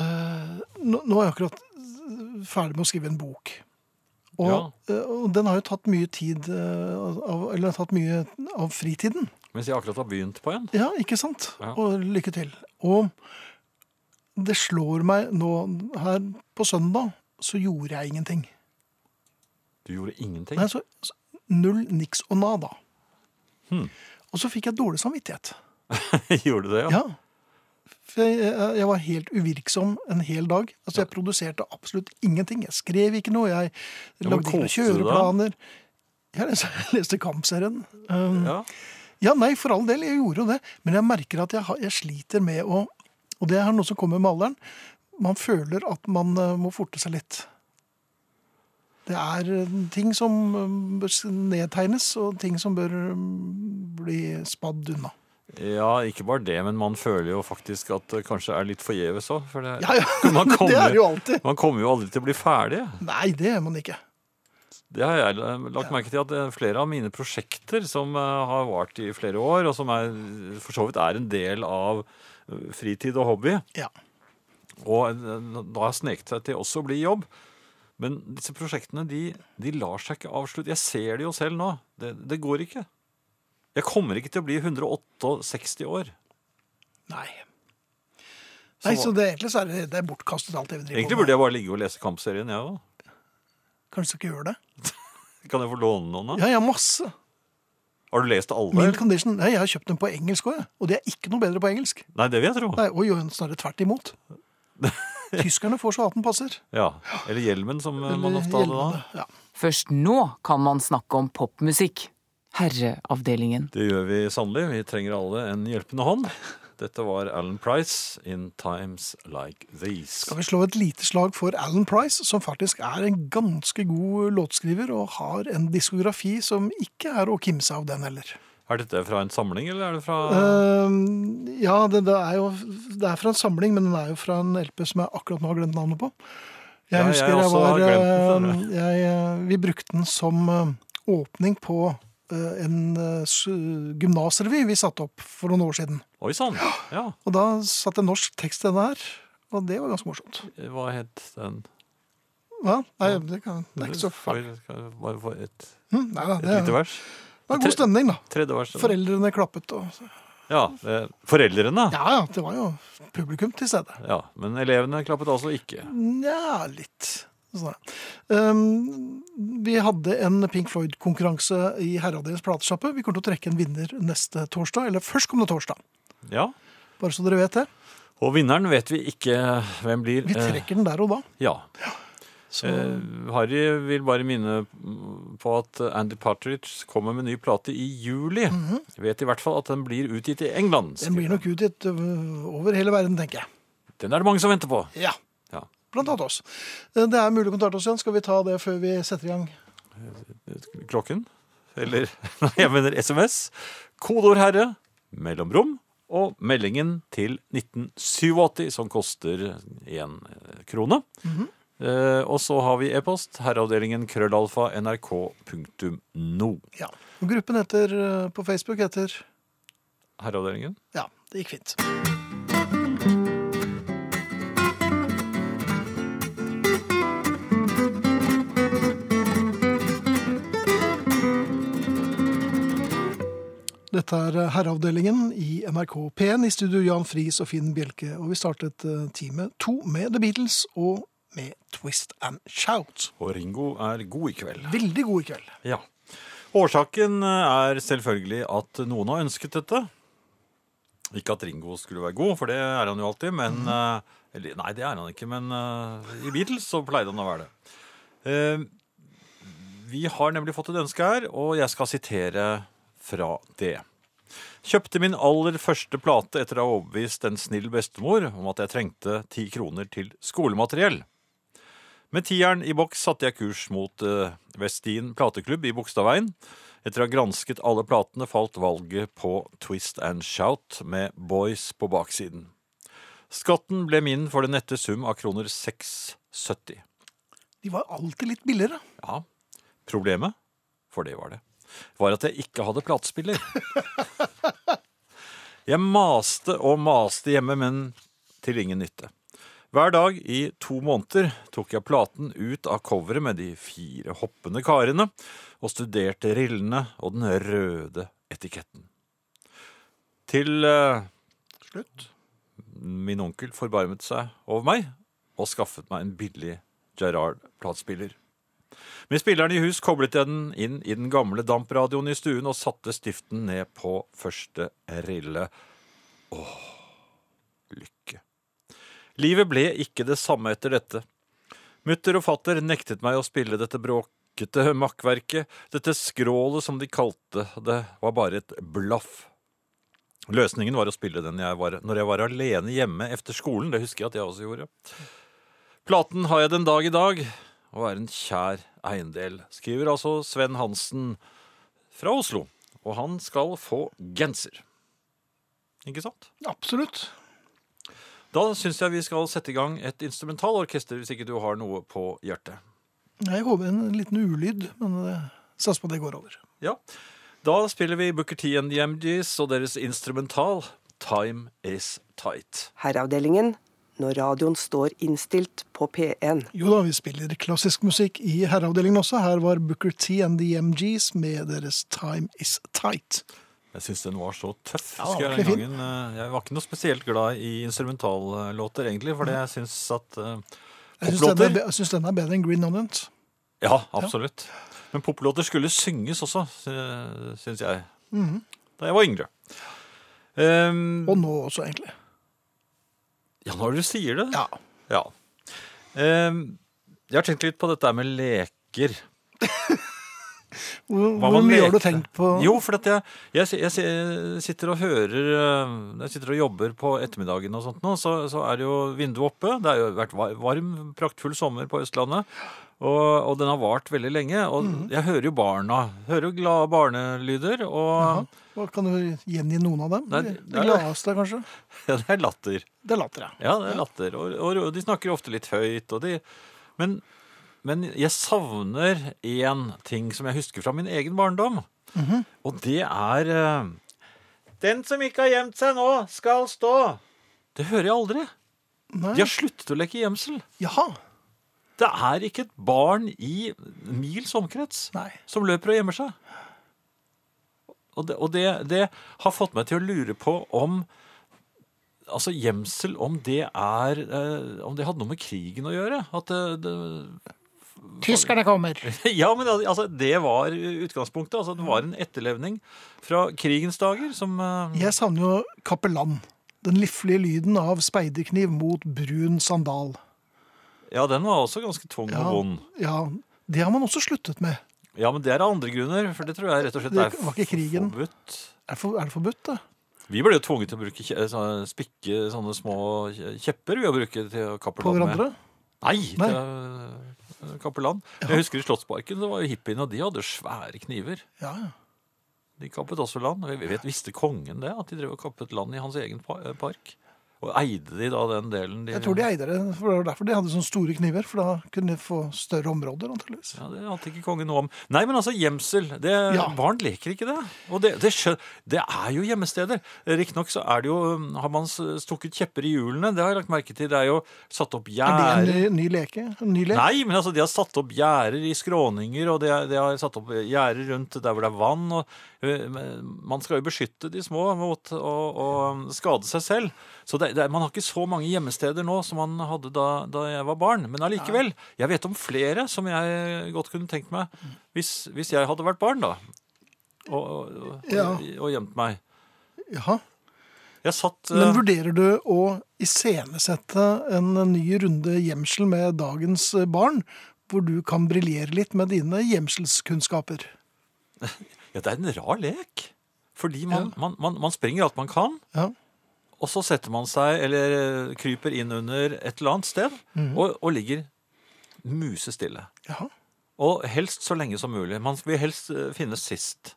S1: eh, nå, nå er jeg akkurat ferdig med å skrive en bok. Og, eh, og den har jo tatt mye tid eh, av, Eller tatt mye av fritiden.
S2: Mens jeg akkurat har begynt på en.
S1: Ja, ikke sant?
S2: Ja.
S1: Og lykke til. Og det slår meg nå Her på søndag så gjorde jeg ingenting.
S2: Du gjorde ingenting.
S1: Nei, så, så Null, niks og nada.
S2: Hmm.
S1: Og så fikk jeg dårlig samvittighet.
S2: *laughs* gjorde du det, ja?
S1: Ja. For jeg, jeg- jeg var helt uvirksom en hel dag. Altså, Jeg produserte absolutt ingenting. Jeg skrev ikke noe,
S2: Ja,
S1: jeg
S2: men
S1: lagde ikke
S2: koste du
S1: noen
S2: deg?
S1: kjøreplaner. Jeg leste, jeg leste Kampserien. Um,
S2: Ja.
S1: ja, nei, for all del, jeg gjorde jo det. Men jeg merker at jeg, har, jeg sliter med å Og det er noe som kommer med alderen. Man føler at man eh, må forte seg litt. Det er eh, ting som eh, bør s- nedtegnes, og ting som bør eh, bli spadd unna.
S2: ja, ikke bare det, men man føler jo faktisk at det kanskje er litt forgjeves òg. For det,
S1: Ja, ja,
S2: Man kommer-
S1: *laughs* det er det jo alltid.
S2: man kommer jo aldri til å bli ferdig.
S1: Nei, det gjør man ikke.
S2: Det har jeg eh, lagt merke til at eh, flere av mine prosjekter som eh, har vart i flere år, og som er, for så vidt er en del av eh, fritid og hobby,
S1: Ja.
S2: og eh, da har sneket seg til også å bli jobb. Men disse prosjektene de, de lar seg ikke avslutte. Jeg ser det jo selv nå. Det, det går ikke. Jeg kommer ikke til å bli 168 år.
S1: Nei. Nei, så det, egentlig så er det, det er bortkastet alt det vi driver
S2: Egentlig burde jeg bare ligge og lese Kampserien, jeg òg.
S1: Kanskje du ikke gjør det?
S2: Kan jeg få låne noen? da?
S1: Ja, jeg har masse.
S2: Har du lest alle?
S1: Mild condition. Nei, jeg har kjøpt dem på engelsk òg, og det er ikke noe bedre på engelsk.
S2: Nei, det vil jeg tro.
S1: Nei, og jo, snarere tvert
S2: *laughs*
S1: imot. Tyskerne får så hatten passer.
S2: Ja. Eller hjelmen, som eh, man ofte hadde da.
S1: Ja.
S5: Først nå kan man snakke om popmusikk. Herreavdelingen.
S2: Det gjør vi sannelig. Vi trenger alle en hjelpende hånd. Dette var Alan Price, 'In Times Like These'.
S1: Skal vi slå et lite slag for Alan Price, som faktisk er en ganske god låtskriver, og har en diskografi som ikke er å kimse av, den heller.
S2: Er dette fra en samling, eller er det fra
S1: Ehm, ja, det, det er jo Det er fra en samling, men den er jo fra en LP som jeg akkurat nå har glemt navnet på.
S2: Ja,
S1: Jeg
S2: jeg
S1: husker jeg,
S2: også har
S1: var
S2: glemt den,
S1: ehm, jeg, eh, Vi brukte den som eh, åpning på eh, en eh, s- gymnasrevy vi satte opp for noen år siden.
S2: Oi sann! Ja.
S1: Og da satt det norsk tekst i denne her, og det var ganske morsomt.
S2: Hva het den?
S1: Hva? Nei, det, kan, det er ikke så
S2: Skal
S1: farlig.
S2: vi- skal vi Bare få et,
S1: Hm, nei, nei,
S2: et
S1: det,
S2: lite vers?
S1: det var god stemning, da.
S2: Tredje vers. eller?
S1: Foreldrene klappet og
S2: Ja, eh, Foreldrene?
S1: Ja ja, det var jo publikum til stede.
S2: Ja, Men elevene klappet altså ikke.
S1: Mm. Nja, litt. Sånn. er det. Um, vi hadde en Pink Floyd-konkurranse i Herreavdelingens platesjappe. Vi kommer til å trekke en vinner neste torsdag, eller førstkommende torsdag.
S2: Ja.
S1: Bare så dere vet det.
S2: Og vinneren vet vi ikke hvem blir.
S1: Vi
S2: Eh,
S1: trekker den der og da.
S2: Ja.
S1: Så,
S2: Eh, Harry vil bare minne på at Andy Partridge kommer med ny plate i juli. Vet i hvert fall at den blir utgitt i England.
S1: Mhm. den blir nok utgitt ø, øh, over hele verden, tenker jeg.
S2: Den er det mange som venter på.
S1: Ja.
S2: Ja.
S1: Blant annet oss. Eh, Det er mulig å kontakte oss igjen. Skal vi ta det før vi setter i gang?
S2: Klokken, eller *laughs* nei, jeg mener SMS. Kodeord herre, mellomrom og meldingen til 1987 som koster én eh, krone.
S1: Mhm.
S2: Eh, og så har vi e-post herreavdelingen krøllalfa nrk.no.
S1: Ja. Og Gruppen heter, ø, på Facebook heter
S2: Herreavdelingen.
S1: Ja, det gikk fint. Dette er eh, Herreavdelingen i NRK P1 i studio Jan Friis og Finn Bjelke. Og vi startet eh, time to med The Beatles og med Twist and Shout.
S2: Og Ringo er god i kveld.
S1: Veldig god i kveld.
S2: Ja. Årsaken eh, er selvfølgelig at noen har ønsket dette. Ikke at Ringo skulle være god, for det er han jo alltid, men eh, eller, Nei, det er han ikke, men eh, i Beatles så pleide han å være det. Eh, vi har nemlig fått et ønske her, og jeg skal sitere fra det. Kjøpte min aller første plate etter å ha overbevist en snill bestemor om at jeg trengte ti kroner til skolemateriell. Med tieren i boks satte jeg kurs mot eh, Westin plateklubb i Bogstadveien. Etter å ha gransket alle platene falt valget på Twist and Shout med Boys på baksiden. Skatten ble min for den nette sum av kroner 670.
S1: De var alltid litt billigere.
S2: Ja, problemet, for det var det, var at jeg ikke hadde platespiller. Jeg maste og maste hjemme, men til ingen nytte. Hver dag i to måneder tok jeg platen ut av coveret med de fire hoppende karene og studerte rillene og den røde etiketten. Til eh,
S1: Slutt.
S2: min onkel forbarmet seg over meg og skaffet meg en billig Gerard-platespiller. Med spilleren i hus koblet jeg den inn i den gamle dampradioen i stuen og satte stiften ned på første rille. Åh, lykke. Livet ble ikke det samme etter dette. Mutter og fatter nektet meg å spille dette bråkete makkverket. Dette skrålet, som de kalte det, var bare et blaff. Løsningen var å spille den jeg var, når jeg var alene hjemme efter skolen. Det husker jeg at jeg også gjorde. Platen har jeg den dag i dag, og er en kjær eiendel, skriver altså Sven Hansen fra Oslo. Og han skal få genser. Ikke sant?
S1: Absolutt.
S2: Da syns jeg vi skal sette i gang et instrumentalorkester, hvis ikke du har noe på hjertet.
S1: Jeg går med en liten ulyd, men eh, satser på at det går over.
S2: Ja, Da spiller vi Booker T and the MGs og deres instrumental Time Is Tight.
S3: Herreavdelingen når radioen står innstilt på P1.
S1: Jo da, vi spiller klassisk musikk i herreavdelingen også. Her var Booker T and the MGs med deres Time Is Tight.
S2: Jeg syns den var så tøff.
S1: Ja,
S2: husker jeg,
S1: ordentlig
S2: den gangen. Eh, jeg var ikke noe spesielt glad i instrumentallåter, egentlig, fordi jeg syns at eh,
S1: Jeg syns denne, er
S2: poplåter
S1: be- jeg synes denne er bedre enn Green Onions.
S2: Ja, absolutt. Men poplåter skulle synges også, eh, syns jeg. Da jeg var yngre. Ehm,
S1: Og nå også, egentlig.
S2: ja, når du sier det.
S1: Ja.
S2: Ja. Ehm, jeg har tenkt litt på dette her med leker.
S1: Hvor,
S2: Hva
S1: hvor
S2: man
S1: mye har du
S2: lekte.
S1: tenkt på
S2: Jo, for at jeg, jeg, si- jeg, si- sitter og hører eh, Når jeg sitter og jobber på ettermiddagen og sånt nå, så, så er det jo vinduet oppe. Det har jo vært va- varm, praktfull sommer på Østlandet. Og, og den har vart veldig lenge. Og
S1: Mhm.
S2: jeg hører jo barna. Hører jo glade barnelyder. Og
S1: Hva Kan du gjengi noen av dem?
S2: Nei,
S1: det,
S2: det er-
S1: gladeste, kanskje?
S2: *laughs* ja, det er latter.
S1: Det later jeg.
S2: Ja, det er latter. Og, og, og de snakker ofte litt høyt. Og de, men, men jeg savner én ting som jeg husker fra min egen barndom. Og det er eh, Den som ikke har gjemt seg nå, skal stå. Det hører jeg aldri.
S1: Nei.
S2: De har sluttet å leke gjemsel.
S1: Jaha.
S2: Det er ikke et barn i mils omkrets
S1: Nei.
S2: som løper og gjemmer seg. Og det, og det, det har fått meg til å lure på om Altså gjemsel, om det er eh, Om det hadde noe med krigen å gjøre. At eh, det, *laughs*
S1: Tyskerne kommer.
S2: det Ja, men al- altså, det var utgangspunktet. Altså, det var en etterlevning fra krigens dager som eh,
S1: Jeg savner jo Kapellan. Den liflige lyden av speiderkniv mot brun sandal.
S2: Ja, den var også ganske tung og vond.
S1: ja, det har man også sluttet med.
S2: Ja, men det er av andre grunner, for det tror jeg rett og slett
S1: Det
S2: er
S1: var ikke krigen.
S2: forbudt.
S1: Er det, for, er det forbudt, det?
S2: Vi ble jo tvunget til å bruke, kje- eh, sånne- spikke sånne små kje- kjepper vi å bruke til å kappe
S1: På
S2: land med.
S1: hverandre?
S2: Nei,
S1: Nei.
S2: til kapellan. Jeg husker i Slottsparken, så var jo hippiene, og de hadde svære kniver.
S1: Ja, ja.
S2: De kappet også land. Vi vet, visste kongen det, at de drev og kappet land i hans egen pa- eh, park? Og eide de da den delen de
S1: Jeg tror de eide det. for Det var derfor de hadde sånne store kniver. For da kunne de få større områder, antakeligvis.
S2: Ja, Det ante ikke kongen noe om. Nei, men altså, gjemsel. Det,
S1: Ja.
S2: Barn leker ikke det. Og det, det, skjø- det er jo gjemmesteder. Riktignok så er det jo Har man s- stukket kjepper i hjulene? Det har jeg lagt merke til. Det er jo satt opp
S1: Er
S2: gjerder.
S1: det en ny, ny leke? En ny lek?
S2: Nei, men altså, de har satt opp gjerder i skråninger, og de har, de har satt opp gjerder rundt der hvor det er vann. Og, eh, men man skal jo beskytte de små mot å, å skade seg selv. Så det, det, er- man har ikke så mange gjemmesteder nå som man hadde da, da jeg var barn. Men allikevel, jeg vet om flere som jeg godt kunne tenkt meg hvis, hvis jeg hadde vært barn, da. Og, og, og,
S1: Ja.
S2: og gjemt meg.
S1: Jaha.
S2: Jeg satt eh,
S1: Men vurderer du å iscenesette en ny runde gjemsel med dagens eh, barn, hvor du kan briljere litt med dine gjemselskunnskaper?
S2: eh, Ja, det er en rar lek. Fordi man, man, man, man springer alt man kan.
S1: Ja.
S2: Og så setter man seg, eller eh, kryper inn under et eller annet sted,
S1: Mhm.
S2: og, og ligger musestille.
S1: Jaha.
S2: Og helst så lenge som mulig. Man vil helst eh, finnes sist.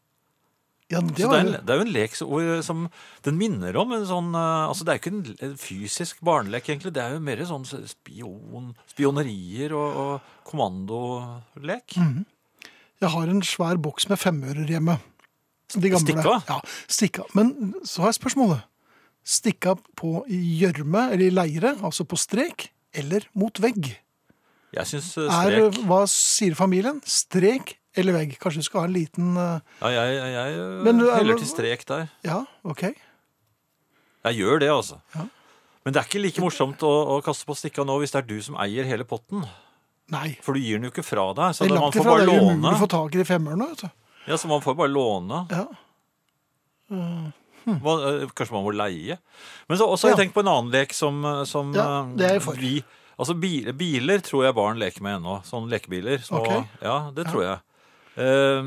S1: Ja, det
S2: Så det
S1: var
S2: er,
S1: jo
S2: en, det er jo en lek som, hvor- som den minner om en sånn eh, Altså, det er jo ikke en en fysisk barnelek, egentlig. Det er jo mer sånn spion, spionerier og, og kommandolek.
S1: Mm. Jeg har en svær boks med femører hjemme. De gamle.
S2: Stikka?
S1: Ja, stikka. Men så har jeg spørsmålet. Stikka på i gjørme eller i leire, altså på strek, eller mot vegg?
S2: Jeg syns eh,
S1: Er,
S2: strek
S1: hva sier familien? Strek eller vegg? Kanskje du skal ha en liten eh,
S2: Ja, jeg, jeg, jeg eh,
S1: Men du er-
S2: heller til strek der.
S1: Ja, ok.
S2: Jeg gjør det, altså. Men det er ikke like morsomt å, å kaste på stikka nå hvis det er du som eier hele potten.
S1: Nei.
S2: For du gir den jo ikke fra deg. Så
S1: Det er
S2: man
S1: langt
S2: får
S1: ifra.
S2: bare
S1: Det er jo umulig
S2: låne.
S1: å få tak i de femmerne. vet du.
S2: Ja, så man får bare låne.
S1: Ja.
S2: Hva- eh, Kanskje man må leie. Men så også har jeg
S1: Mm. Ja.
S2: tenkt på en annen lek som, eh, som
S1: Ja,
S2: eh,
S1: det er jeg for.
S2: Vi, altså biler, biler tror jeg barn leker med ennå. Sånne lekebiler. små-
S1: Ok.
S2: Ja, det tror jeg. Eh,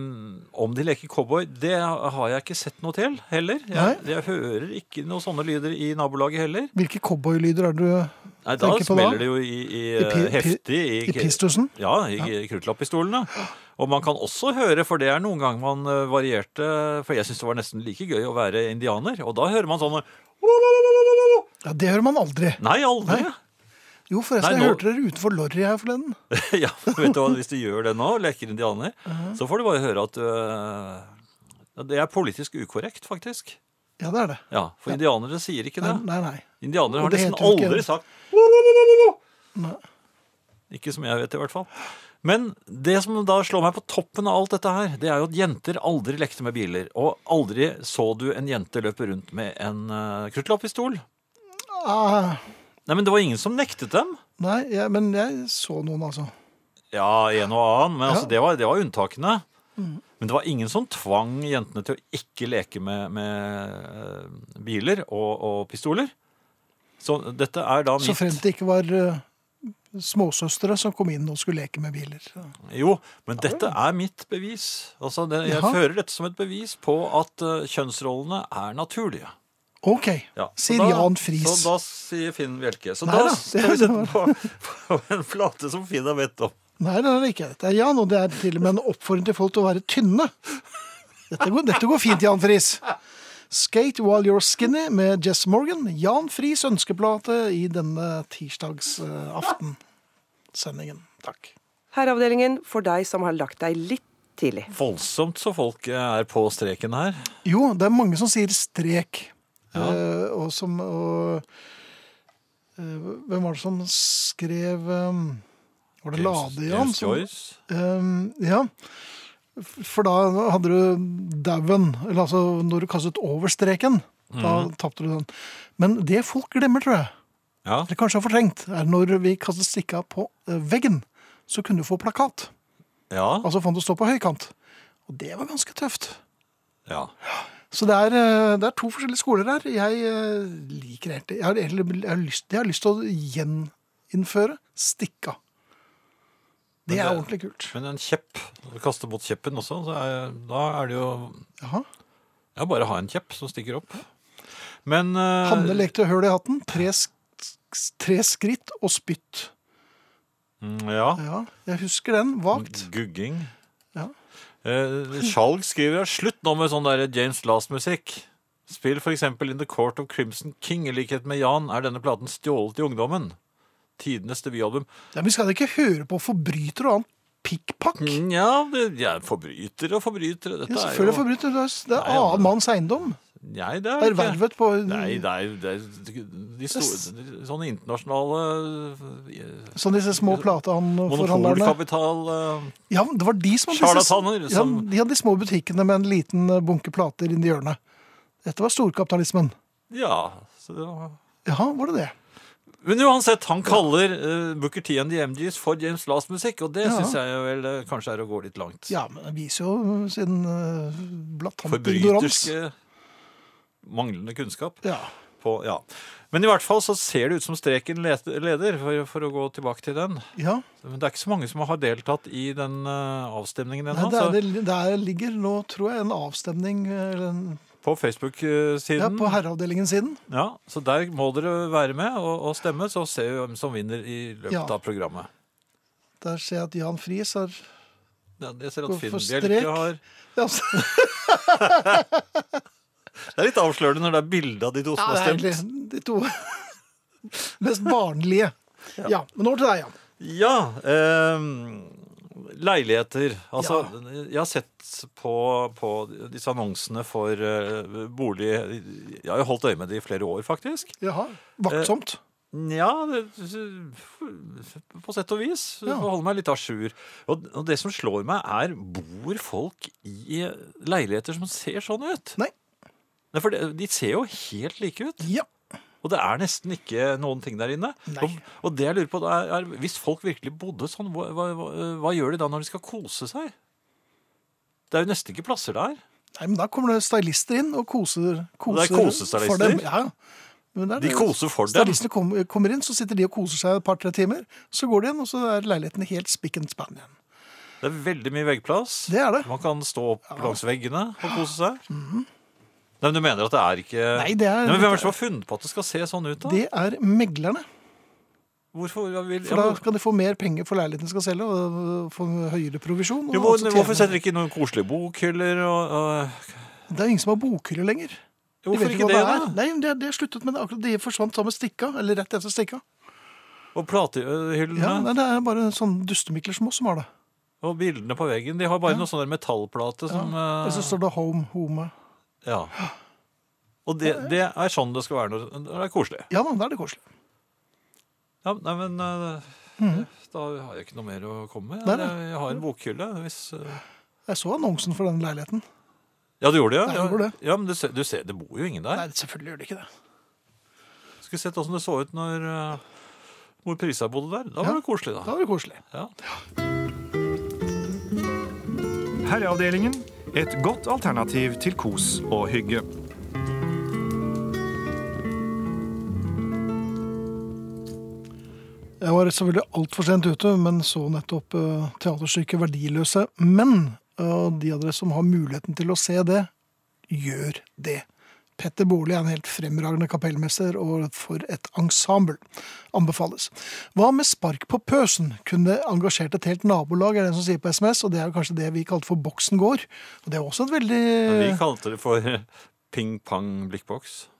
S2: om de leker cowboy, det har jeg ikke sett noe til heller. Jeg, jeg hører ikke noen sånne lyder i nabolaget heller.
S1: Hvilke cowboylyder er det du
S2: Nei, da
S1: Tenker på da?
S2: smeller det jo i, i,
S1: I pi- pi-
S2: heftig i,
S1: i pistusen?
S2: Ja, i kruttlappistolene. Og man kan også høre, for det er noen gang man eh, varierte For jeg syns det var nesten like gøy å være indianer. Og da hører man sånne
S1: Ja, Det hører man aldri.
S2: Nei, aldri!
S1: Jo, forresten,
S2: Nei,
S1: jeg
S2: nå-
S1: hørte dere utenfor Lorry her forleden.
S2: *laughs* ja, vet du hva, Hvis du gjør det nå, og leker indianer, så får du bare høre at eh, Det er politisk ukorrekt, faktisk.
S1: Ja, det er det.
S2: Ja, For indianere sier ikke
S1: Nei,
S2: det.
S1: nei. nei.
S2: Indianere
S1: Og
S2: har
S1: det
S2: nesten
S1: heter jo ikke
S2: aldri
S1: det.
S2: sagt Ikke som jeg vet, i hvert fall. Men det som da slår meg på toppen av alt dette her, det er jo at jenter aldri lekte med biler. Og aldri så du en jente løpe rundt med en uh, kruttlappistol.
S1: Ah,
S2: Nei, men det var ingen som nektet dem.
S1: nei ja, men jeg så noen, altså.
S2: Ja, en og annen, men altså,
S1: Ja. Mm.
S2: det, var, det var unntakene. Men det var ingen som tvang jentene til å ikke leke med, med eh, biler og, og pistoler. Så dette er da mitt
S1: Så fremt det ikke var eh, småsøstre som kom inn og skulle leke med biler.
S2: Jo, men dette er mitt bevis. Altså, det, jeg
S1: Jaha.
S2: fører dette som et bevis på at eh, kjønnsrollene er naturlige.
S1: OK,
S2: Ja, så
S1: sier
S2: da-
S1: Jan Friis.
S2: Så da sier Finn Bjelke. Så da
S1: Nei da,
S2: *laughs*
S1: det-
S2: skal vi sette den på, på en flate som Finn har bedt om.
S1: Nei, det er det ikke. Det er Jan, og det er til og med en oppfordring til folk til å være tynne. Dette går, dette går fint, Jan Friis. Skate While You're Skinny med Jess Morgan. Jan Friis ønskeplate i denne tirsdagsaftensendingen. Takk.
S3: Herreavdelingen for deg som har lagt deg litt tidlig.
S2: Voldsomt så folk eh, er på streken her.
S1: Jo, det er mange som sier strek. Eh, og som og, eh, Hvem var det som skrev eh, Var det Lade, Jan?
S2: James
S1: som-
S2: Joyce.
S1: Ehm, ja. For da hadde du dauen, eller altså når du kastet over streken.
S2: Mhm.
S1: Da tapte du den. Men det folk glemmer, tror jeg,
S2: Ja.
S1: eller kanskje har fortrengt, er når vi kastet stikka på eh, veggen, så kunne du få plakat.
S2: ja.
S1: Altså fant du stå på høykant. Og det var ganske tøft.
S2: ja.
S1: Så det er, eh, det er to forskjellige skoler her. Jeg eh, liker helt det. Jeg har, egentlig- jeg har, lyst, jeg har lyst til å gjeninnføre stikka. Det
S2: Men
S1: er
S2: det-
S1: ordentlig kult.
S2: Men en kjepp, når du kaster mot kjeppen også, så er, da er det jo
S1: Jaha.
S2: Ja, bare ha en kjepp som stikker opp. Men eh,
S1: Hanne lekte høl i hatten. Tre, sk tre skritt og spytt.
S2: mm, Ja.
S1: Ja, jeg husker den
S2: Mm.
S1: vagt.
S2: Gugging.
S1: Ja.
S2: Eh, Skjalg skriver ja, slutt nå med sånn der James Last-musikk. Spill for eksempel In the Court of Crimson King. I likhet med Jan er denne platen stjålet i ungdommen. Tidenes debutalbum.
S1: Ja, men vi skal ikke høre på forbryter og annen pikkpakk.
S2: Mm. Nja, det- ja, forbrytere og forbrytere. Dette
S1: Mm, Ja,
S2: er
S1: selvfølgelig
S2: jo
S1: forbryter. Det er, det er
S2: Nei, ja, men-
S1: annen manns eiendom.
S2: Nei, det er ikke
S1: Ervervet på
S2: Nei, det er, det er de store, sånne internasjonale eh,
S1: sånne sånn disse små plateforhandlerne.
S2: monopolkapital eh,
S1: Ja, men det var de som hadde
S2: Charlataner,
S1: disse, ja,
S2: som-
S1: de hadde de små butikkene med en liten eh, bunke plater inni hjørnet. Dette var storkapitalismen.
S2: Ja. Så det var...
S1: Jaha, var det det?
S2: Men uansett, han kaller uh, Booker T and The MGs for James Last-musikk, og det
S1: Ja.
S2: synes syns jeg vel eh, kanskje er å gå litt langt.
S1: Ja, men det viser jo sin eh, blatant ignorans.
S2: Forbryterske manglende kunnskap.
S1: Ja.
S2: På, ja. Men i hvert fall så ser det ut som streken let- leder, for, for å gå tilbake til den.
S1: ja.
S2: Men det er ikke så mange som har deltatt i den eh, avstemningen
S1: Nei,
S2: ennå.
S1: det,
S2: så-
S1: er, det, der ligger nå, tror jeg, en avstemning eh, eller en,
S2: På Facebook-siden.
S1: ja, på herreavdelingen siden.
S2: Ja, så der må dere være med og, og stemme, så ser vi hvem som vinner i løpet
S1: Ja.
S2: av programmet.
S1: Der ser jeg at Jan Friis har
S2: Ja, jeg ser at
S1: Hvorfor
S2: Finn
S1: strek?
S2: Bjelke har
S1: ja, altså,
S2: Det er litt avslørende når det er bilde av de to som
S1: ja,
S2: *laughs* har
S1: det er
S2: stemt.
S1: egentlig de to *laughs* mest barnlige. Ja. Men over til deg, Jan.
S2: Ja. ehm, leiligheter. Altså, jeg har sett på, på disse annonsene for eh, bolig Jeg har jo holdt øye med det i flere år, faktisk.
S1: Jaha. Vaktsomt.
S2: Eh. Nja det- På sett og vis. Ja.
S1: Ja.
S2: Holde meg litt à jour. Og, og det som slår meg, er bor folk i leiligheter som ser sånn ut?
S1: Nei.
S2: Nei, for det- De ser jo helt like ut.
S1: Ja.
S2: Og det er nesten ikke noen ting der inne.
S1: Nei.
S2: Og, og det jeg lurer på da er, er Hvis folk virkelig bodde sånn, hva, hva, hva- hva gjør de da når de skal kose seg? Det er jo nesten ikke plasser der.
S1: Nei, men da kommer det stylister inn og koser,
S2: Det
S1: koser
S2: er kosestylister?
S1: for dem. Ja. Men det er
S2: De
S1: det.
S2: koser for dem.
S1: Stylistene kom, kommer inn, så sitter de og koser seg et par-tre timer. Så går de igjen, og så er leiligheten helt spikken spann igjen.
S2: Det er veldig mye veggplass.
S1: Det er det. Mhm.
S2: Man kan stå opp langs veggene og kose seg. Nei, men Du mener at det er ikke
S1: Nei, det er-
S2: Nei, men Hvem er det som har funnet på at det skal se sånn ut, da?
S1: Det er meglerne.
S2: Hvorfor vil,
S1: For da skal de få mer penger for leiligheten de skal selge, og få høyere provisjon. og
S2: jo, hvor,
S1: også tjene-
S2: Hvorfor setter de ikke noen koselige bokhyller og, og
S1: Det er jo ingen som har bokhyller lenger. De
S2: Hvorfor
S1: vet
S2: ikke
S1: hva
S2: det,
S1: er.
S2: da?
S1: Nei, men det, det er sluttet med det. Akkurat de forsvant sammen med stikka, eller rett etter stikka.
S2: Og
S1: Ja,
S2: platehyllene
S1: nei, Det er bare sånne dustemikler som oss som har det.
S2: og bildene på veggen. De har bare noen sånne metallplate som
S1: Og så
S2: eh,
S1: står det Home Home.
S2: Ja. Og det, det er sånn det skal være når når det er koselig.
S1: Ja da, da er det koselig.
S2: Ja, nei, men eh, Da har jeg ikke noe mer å komme med.
S1: Mhm. Nei, nei.
S2: Jeg har en bokhylle. hvis... eh,
S1: Jeg så annonsen for den leiligheten.
S2: Ja, du gjorde det?
S1: Ja,
S2: Ja,
S1: jeg gjorde det.
S2: ja men du ser, du ser, det bor jo ingen der.
S1: Nei, selvfølgelig gjør det ikke det.
S2: Skulle sett åssen det så ut når eh, mor Prisa bodde der. Da var
S1: Ja.
S2: det koselig, da.
S1: Da var det koselig.
S2: Ja.
S6: Herreavdelingen. Et godt alternativ til kos og hygge.
S1: Jeg var selvfølgelig altfor sent ute, men så nettopp eh, teaterstykket 'Verdiløse menn'. Og de av dere som har muligheten til å se det, gjør det. Petter Baarli er en helt fremragende kapellmester, og for et ensemble. Anbefales. Hva med spark på pøsen? Kunne engasjert et helt nabolag, er det en som sier på SMS. Og det er jo kanskje det vi kalte for Boksen gård. Og det er også et veldig
S2: Men Vi kalte det for *laughs* ping-pang-blikkboks.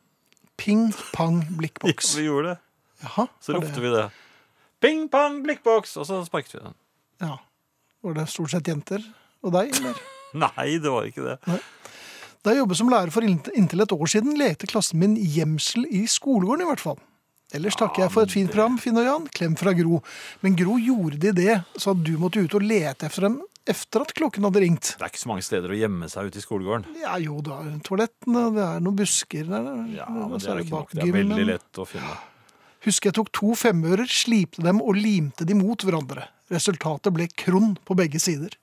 S1: ping-pang-blikkboks.
S2: *laughs* Vi gjorde det.
S1: Jaha,
S2: Så
S1: var
S2: ropte vi det. Ping-pang-blikkboks! Og så sparket vi den.
S1: Ja. Var det stort sett jenter og deg, eller?
S2: Nei, det var ikke det.
S1: Da jeg jobbet som lærer for inntil inntil et år siden, lekte klassen min gjemsel i skolegården i hvert fall. Ellers takker jeg for et fint program, Finn og Jan. Klem fra Gro. Men Gro gjorde de det, så at du måtte ut og lete etter dem efter at klokken hadde ringt.
S2: Det er ikke så mange steder å gjemme seg ute i skolegården.
S1: Ja, jo, da er toalettene, det er noen busker der.
S2: Ja,
S1: og
S2: men
S1: så
S2: Det er, jo ikke
S1: bak
S2: nok. Det er
S1: gymmen.
S2: veldig lett å finne.
S1: Husker jeg tok to femører, slipte dem og limte de mot hverandre. Resultatet ble kron på begge sider.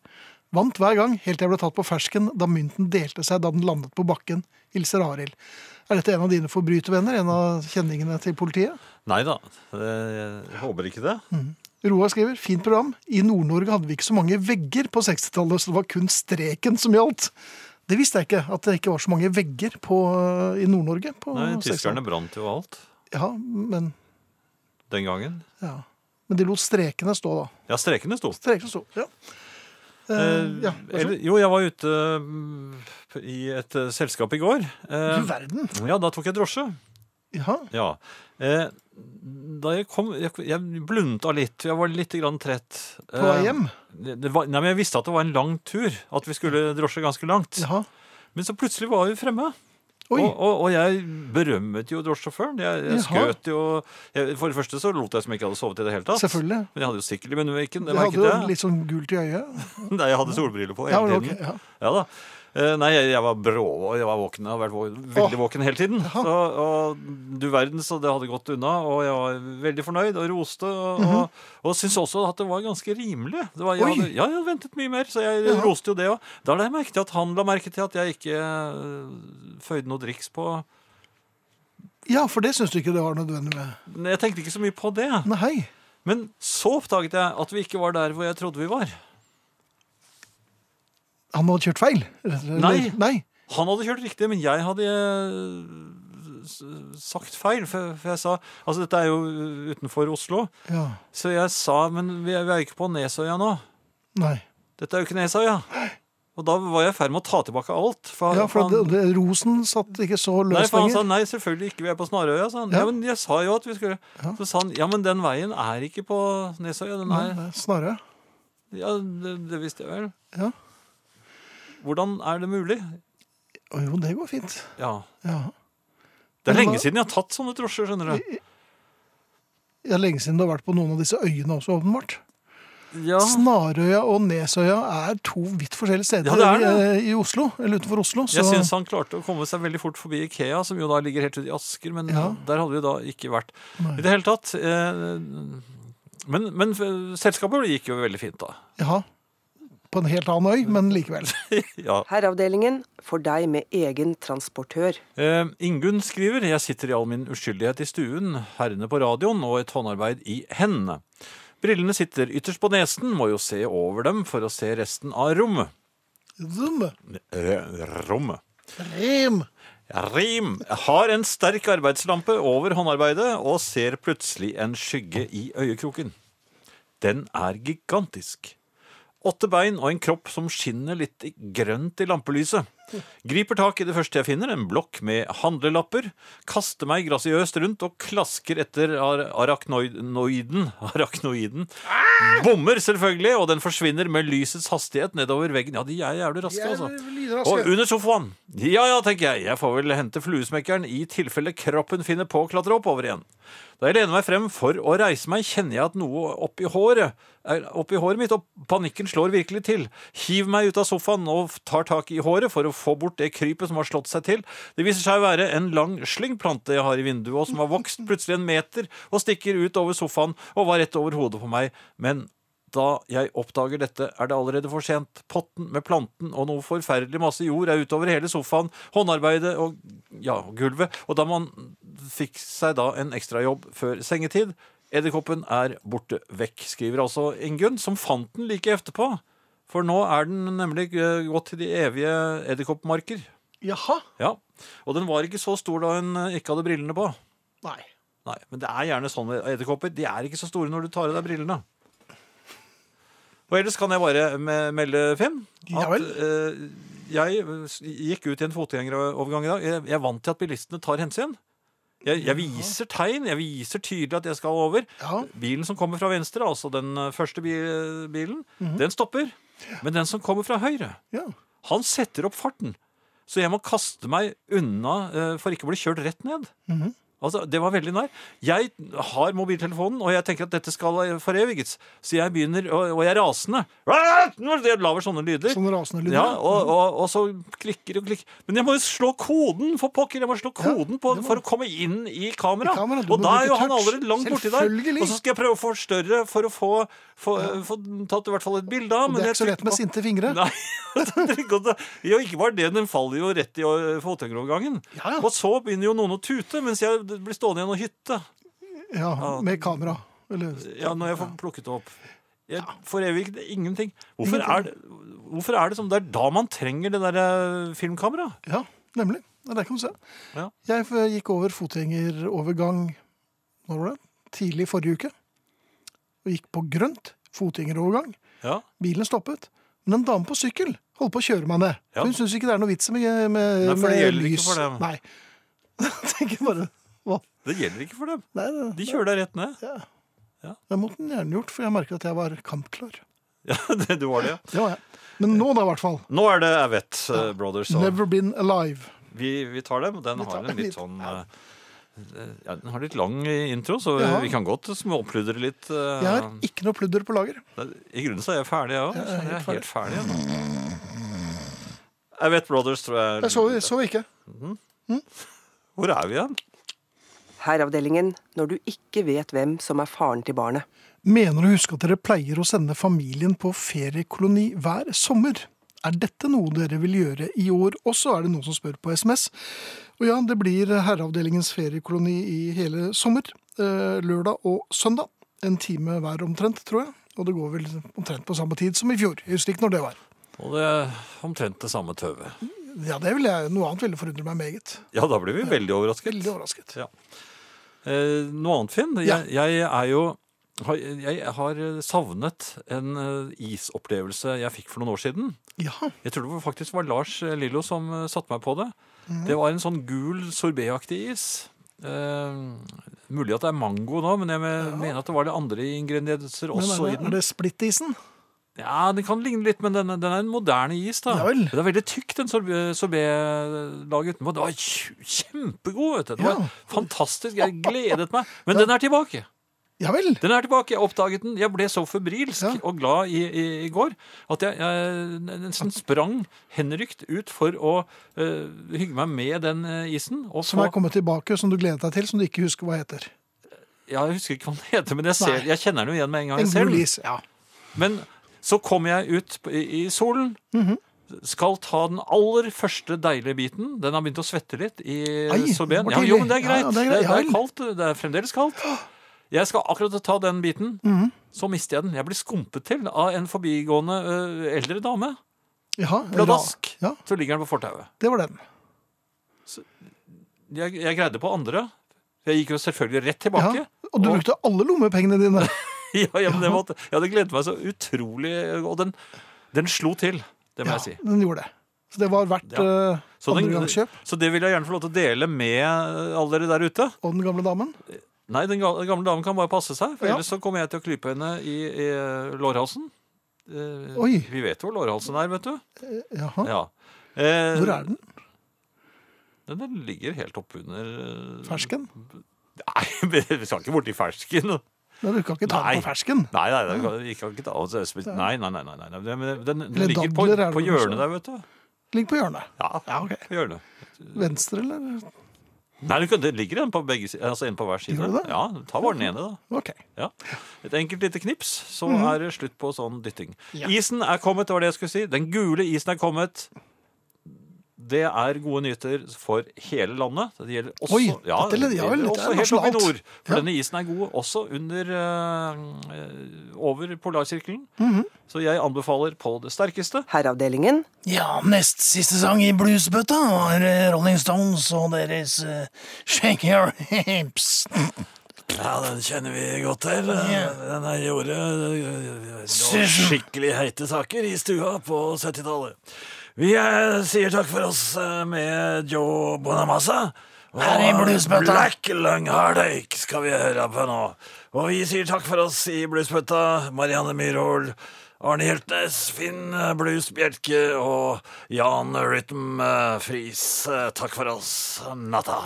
S1: Vant hver gang, helt til jeg ble tatt på fersken da mynten delte seg da den landet på bakken. Hilser Arild. Er dette en av dine forbrytervenner? En av kjenningene til politiet?
S2: Nei da, jeg håper ikke det.
S1: Roar skriver fint program. I Nord-Norge hadde vi ikke så mange vegger på 60-tallet, så det var kun streken som gjaldt. Det visste jeg ikke, at det ikke var så mange vegger på, eh, i Nord-Norge. på
S2: Nei,
S1: 60-tallet.
S2: Tyskerne brant jo alt
S1: Ja, men,
S2: den gangen.
S1: ja. men de lot strekene stå, da.
S2: Ja, strekene sto.
S1: Streker som sto, ja. Eh, ja, vær så god.
S2: Eller, jo, jeg var ute mm, i et eh, selskap i går. Eh,
S1: Du verden.
S2: ja, da tok jeg drosje.
S1: Ja.
S2: Ja. Eh, da jeg kom Jeg, jeg blunta litt. Jeg var litt grann trett.
S1: På
S2: Eh,
S1: vei hjem?
S2: Det, det var, nei, men Jeg visste at det var en lang tur. At vi skulle drosje ganske langt.
S1: Jaha.
S2: Men så plutselig var vi fremme.
S1: Oi.
S2: Og, og, og jeg berømmet jo drosjesjåføren. Jeg, jeg
S1: Jaha.
S2: skrøt jo jeg, For det første så lot jeg som jeg ikke hadde sovet i det hele tatt.
S1: Selvfølgelig.
S2: Men jeg hadde jo sikkert i munnviken.
S1: Du
S2: Det
S1: hadde
S2: merket
S1: jo
S2: jeg.
S1: litt sånn gult i øyet.
S2: *laughs* Nei, jeg hadde solbriller på
S1: Ja,
S2: hele
S1: men
S2: tiden.
S1: ok, ja.
S2: Ja da. Eh, Nei, jeg, jeg var brå og jeg var våken. Jeg har vært våken, veldig våken hele tiden. Så, og du verden, så det hadde gått unna. Og jeg var veldig fornøyd og roste. Og, og, og syntes også at det var ganske rimelig. Det var, jeg,
S1: Mhm. Oi.
S2: hadde, ja, jeg hadde ventet mye mer, så jeg roste jo det òg. Da la jeg merke til at han la merke til at jeg ikke eh, føyde noe driks på
S1: Ja, for det syns du ikke det var nødvendig med.
S2: Nei, Jeg tenkte ikke så mye på det.
S1: Nei.
S2: Men så oppdaget jeg at vi ikke var der hvor jeg trodde vi var.
S1: Han hadde kjørt feil? Eller-
S2: Nei.
S1: Nei.
S2: Han hadde kjørt riktig, men jeg hadde eh, s- sagt feil. For, for jeg sa Altså, dette er jo utenfor Oslo.
S1: Ja.
S2: Så jeg sa Men vi er, vi er ikke på Nesøya nå.
S1: Nei.
S2: Dette er jo ikke Nesøya. Og da var jeg i ferd med å ta tilbake alt. For,
S1: Ja, for
S2: han,
S1: det, det, rosen satt ikke så
S2: nei,
S1: løs
S2: for han sa
S1: lenger.
S2: nei, selvfølgelig ikke. Vi er på Snarøya, sa han.
S1: Ja.
S2: Ja, men jeg sa jo at vi skulle Så sa han ja, men den veien er ikke på Nesøya. Den
S1: Nei,
S2: er
S1: nei, Snarere.
S2: Ja, det, det visste jeg vel.
S1: Ja.
S2: Hvordan er det mulig?
S1: Å, jo, det går fint.
S2: Ja.
S1: Ja.
S2: Det er
S1: Men
S2: lenge
S1: hva-
S2: siden jeg har tatt sånne drosjer, skjønner du.
S1: Det er lenge siden du har vært på noen av disse øyene også, åpenbart.
S2: Ja.
S1: Snarøya og Nesøya er to vidt forskjellige steder
S2: Ja, det er det.
S1: i- i Oslo, eller utenfor Oslo. Så
S2: Jeg syns han klarte å komme seg veldig fort forbi Ikea, som jo da ligger helt ute i Asker, men
S1: Ja.
S2: der hadde vi da ikke vært. I det hele tatt. Eh, men, men f- selskapet gikk jo veldig fint, da.
S1: ja, på en helt annen øy, men likevel. *laughs*
S2: Ja.
S3: Herreavdelingen for deg med egen transportør.
S2: Eh, Ingunn skriver Jeg sitter i all min uskyldighet i stuen, herrene på radioen og et håndarbeid i hendene. Brillene sitter ytterst på nesen, må jo se over dem for å se resten av rommet.
S1: Zoom,
S2: Eh, Rommet.
S1: rem.
S2: Rim har en sterk arbeidslampe over håndarbeidet og ser plutselig en skygge i øyekroken. Den er gigantisk. Åtte bein og en kropp som skinner litt i grønt i lampelyset. Griper tak i det første jeg finner, en blokk med handlelapper. Kaster meg grasiøst rundt og klasker etter ar arachnoiden. *laughs* arachnoiden. Bommer, selvfølgelig, og den forsvinner med lysets hastighet nedover veggen. Ja, de er jævlig raske, altså. Og under sofaen. Ja ja, tenker jeg. Jeg får vel hente fluesmekkeren i tilfelle kroppen finner på å klatre oppover igjen. Da jeg lener meg frem for å reise meg, kjenner jeg at noe oppi håret er oppi håret mitt, og panikken slår virkelig til. Hiv meg ut av sofaen og tar tak i håret for å få bort det krypet som har slått seg til. Det viser seg å være en lang slyngplante jeg har i vinduet, og som har vokst plutselig en meter og stikker ut over sofaen og var rett over hodet på meg. Men da jeg oppdager dette, er det allerede for sent. Potten med planten og noe forferdelig masse jord er utover hele sofaen, håndarbeidet og ja, og gulvet. Og da man fikk seg da en ekstrajobb før sengetid, edderkoppen er borte vekk, skriver altså Ingunn, som fant den like etterpå. For nå er den nemlig eh, gått til de evige edderkoppmarker.
S1: Jaha.
S2: Ja. Og den var ikke så stor da hun eh, ikke hadde brillene på.
S1: Nei.
S2: Nei, men det er gjerne sånn med edderkopper. De er ikke så store når du tar av deg brillene. Og ellers kan jeg bare me- melde, Finn,
S1: Ja
S2: at
S1: vel.
S2: eh, jeg s- gikk ut i en fotgjengerovergang i dag. Jeg, jeg er vant til at bilistene tar hensyn. Jeg, jeg viser tegn, jeg viser tydelig at jeg skal over.
S1: Ja.
S2: Bilen som kommer fra venstre, altså den eh, første bi bilen,
S1: Mhm.
S2: den stopper. Men den som kommer fra høyre,
S1: Ja.
S2: han setter opp farten. Så jeg må kaste meg unna eh, for ikke å bli kjørt rett ned.
S1: Mhm.
S2: Altså, Det var veldig nær. Jeg har mobiltelefonen, og jeg tenker at dette skal eh, foreviges. Så jeg begynner, og, og jeg er rasende. Jeg lager sånne lyder.
S1: Sånne sånn rasende lyder. Mhm.
S2: Ja, og, og, og så klikker og klikker. Men jeg må jo slå koden, for pokker! Jeg må slå koden på, for å komme inn i kamera.
S1: I kamera, du
S2: og
S1: må
S2: da er
S1: bruke
S2: jo han
S1: touch.
S2: allerede langt borti der.
S1: Selvfølgelig.
S2: Og så skal jeg prøve å forstørre for å få, få, få tatt i hvert fall et bilde av.
S1: Og
S2: men
S1: det er
S2: jeg
S1: ikke så lett
S2: trykker
S1: med
S2: på-
S1: sinte fingre.
S2: Nei, *laughs* det er godt. jo, ikke bare det, den faller jo rett i ø, fotgjengerovergangen.
S1: Ja, ja.
S2: Og så begynner jo noen å tute, mens jeg blir stående igjen og hytte
S1: Ja, med kamera. Eller
S2: ja, når jeg får plukket det opp. Jeg får evig ingenting. Hvorfor er, det, hvorfor er det som det er da man trenger det der eh, ø, filmkameraet?
S1: Ja, nemlig. Ja, der kan du se.
S2: Ja.
S1: Jeg f- gikk over fotgjengerovergang når var det? tidlig forrige uke. Og gikk på grønt fotgjengerovergang.
S2: Ja.
S1: Bilen stoppet. Men en dame på sykkel holdt på å kjøre meg ned.
S2: Ja.
S1: For Hun syns ikke det er noe vits med, med,
S2: Nei, for det
S1: med
S2: gjelder ikke for dem.
S1: Nei. *laughs* Jeg tenker bare hva?
S2: Det gjelder ikke for dem.
S1: Nei, det-
S2: De kjører deg rett ned.
S1: det måtte den gjerne gjort, for jeg merket at jeg var kampklar.
S2: Ja, *laughs* det, du var det, ja.
S1: Det var jeg. Men nå, da, i hvert fall.
S2: Nå er det Avett ø, Brothers. og
S1: Never been alive.
S2: Vi, vi tar dem. Den
S1: Vi tar
S2: har en
S1: dem
S2: litt
S1: litt.
S2: sånn ø, ja, Den har litt lang intro, så
S1: Ja.
S2: vi kan godt småpludre litt. eh, ø,
S1: Jeg har ikke noe pludder på lager.
S2: Det- I grunnen så er jeg ferdig, jeg òg.
S1: Jeg er
S2: Jeg er
S1: helt
S2: helt ferdig. Jeg, nå. jeg vet Brothers, tror jeg.
S1: Jeg så, så ikke.
S2: Hvor er vi igjen?
S3: Herreavdelingen når du ikke vet hvem som er faren til barnet.
S1: Mener å huske at dere pleier å sende familien på feriekoloni hver sommer. Er dette noe dere vil gjøre i år også, er det noen som spør på SMS. Og ja, det blir herreavdelingens feriekoloni i hele sommer. eh, Lørdag og søndag. En time hver omtrent, tror jeg. Og det går vel omtrent på samme tid som i fjor. Jeg husker ikke når det var.
S2: Og det er omtrent det samme tøvet.
S1: Ja, det ville jeg, Noe annet ville forundre meg meget.
S2: Ja, da blir vi veldig overrasket.
S1: Veldig overrasket.
S2: Ja. Eh, noe annet, Finn. Jeg,
S1: Ja.
S2: jeg er jo har- jeg har savnet en eh, isopplevelse jeg fikk for noen år siden.
S1: Ja,
S2: Jeg tror det faktisk var Lars Lillo som eh, satte meg på det.
S1: Mhm.
S2: Det var en sånn gul sorbetaktig is. Eh, mulig at det er mango nå, men jeg me- mener at det var det andre ingredienser
S1: men
S2: også i
S1: er det,
S2: den.
S1: er det splittisen?
S2: Ja, Den kan ligne litt, men den, den er en moderne is. da.
S1: Ja vel.
S2: Den er veldig tykk, den sorbélaget utenpå. Den var kj- kjempegod! vet du. Den
S1: Ja.
S2: var fantastisk. Jeg gledet meg. Men den er tilbake.
S1: Ja vel!
S2: Den er tilbake! Jeg oppdaget den. Jeg ble så febrilsk
S1: Ja.
S2: og glad i, i, i går at jeg, jeg nesten sprang henrykt ut for å eh, hygge meg med den eh, isen. Og
S1: Som
S2: få-
S1: er kommet tilbake, som du gledet deg til, som du ikke husker hva heter.
S2: Ja, jeg husker ikke hva den heter, men jeg, ser,
S1: Nei.
S2: jeg kjenner den jo igjen med en gang.
S1: En
S2: jeg ser
S1: blue
S2: den.
S1: lease. Ja.
S2: Men så kom jeg ut på- i, i solen.
S1: Mhm.
S2: Skal ta den aller første deilige biten. Den har begynt å svette litt i
S1: Ai,
S2: sorbeen.
S1: det var
S2: Ja, jo, men det er
S1: tidlig. Ja,
S2: greit.
S1: ja,
S2: det,
S1: det
S2: er
S1: er greit.
S2: det,
S1: Ja
S2: er
S1: vel.
S2: kaldt. Det er fremdeles kaldt. Jeg skal akkurat ta den biten.
S1: Mhm.
S2: Så mister jeg den. Jeg blir skumpet til av en forbigående ø, eldre dame.
S1: Jaha,
S2: Pladask.
S1: Ja,
S2: Så ligger den på fortauet.
S1: det var den.
S2: Jeg, jeg greide på andre. Jeg gikk jo selvfølgelig rett
S1: Ja.
S2: tilbake.
S1: Og du brukte alle lommepengene dine.
S2: *laughs* Ja, ja, men det var, jeg hadde gledet meg så utrolig, og den, den slo til, det må
S1: Ja,
S2: jeg si.
S1: den gjorde det. Så det var verdt eh,
S2: Ja.
S1: ja.
S2: Så, den,
S1: andregangskjøp.
S2: så det vil jeg gjerne få lov til å dele med eh, alle dere der ute.
S1: Og den gamle damen.
S2: Nei, den ga- gamle damen kan bare passe seg, for
S1: Ja.
S2: ellers så kommer jeg til å klype henne i, i lårhalsen. Eh,
S1: Oi.
S2: Vi vet hvor lårhalsen er, vet du.
S1: Jaha.
S2: Ja. Eh,
S1: Hvor er den?
S2: den? Den ligger helt oppunder eh,
S1: Fersken?
S2: Nei, *laughs* men vi skal ikke borti fersken.
S1: Nei, du kan ikke ta
S2: Nei.
S1: den på fersken.
S2: Nei, nei, det kan- vi kan ikke ta altså, spis- Nei, nei, nei. nei, nei. Den, den, den
S1: Eller
S2: ligger på,
S1: dadler er det
S2: på
S1: vel også.
S2: hjørnet der, vet du.
S1: Ligg på hjørnet.
S2: Ja,
S1: Ja, ok.
S2: på hjørnet.
S1: Venstre, eller?
S2: Nei, du kan- det ligger en på, begge, si- altså en på hver side.
S1: Gjør det det?
S2: Ja, Ta bare den ene, da.
S1: Ok.
S2: Ja. Et enkelt lite knips, så er det slutt på sånn dytting.
S1: Mhm. Ja.
S2: Isen er kommet, det var det jeg skulle si. Den gule isen er kommet. Det er gode nyheter for hele landet. Det gjelder også,
S1: Oi, dette er-
S2: det
S1: ja
S2: gjelder
S1: vel,
S2: også
S1: dette er
S2: helt opp i
S1: nasjonalt.
S2: nord. For
S1: Ja.
S2: denne isen er god også under eh, eh, over polarsirkelen.
S1: Mhm.
S2: Så jeg anbefaler på det sterkeste.
S3: Herreavdelingen.
S7: Ja, nest siste sang i bluesbøtta var eh, Rolling Stones og deres eh, Shake Your Hips.
S2: Ja, den kjenner vi godt til. Den her gjorde skikkelig heite saker i stua på 70-tallet. Vi eh, sier takk for oss eh, med Joe Bonamassa. Og
S7: Her i bluesbøtta.
S2: Black Lunghardake skal vi høre på nå. Og vi sier takk for oss i bluesbøtta. Marianne Myrhol, Arne Hjeltnes, Finn eh, Blues Bjerke og Jan Rytm eh, Friis. Eh, Takk for oss. Natta.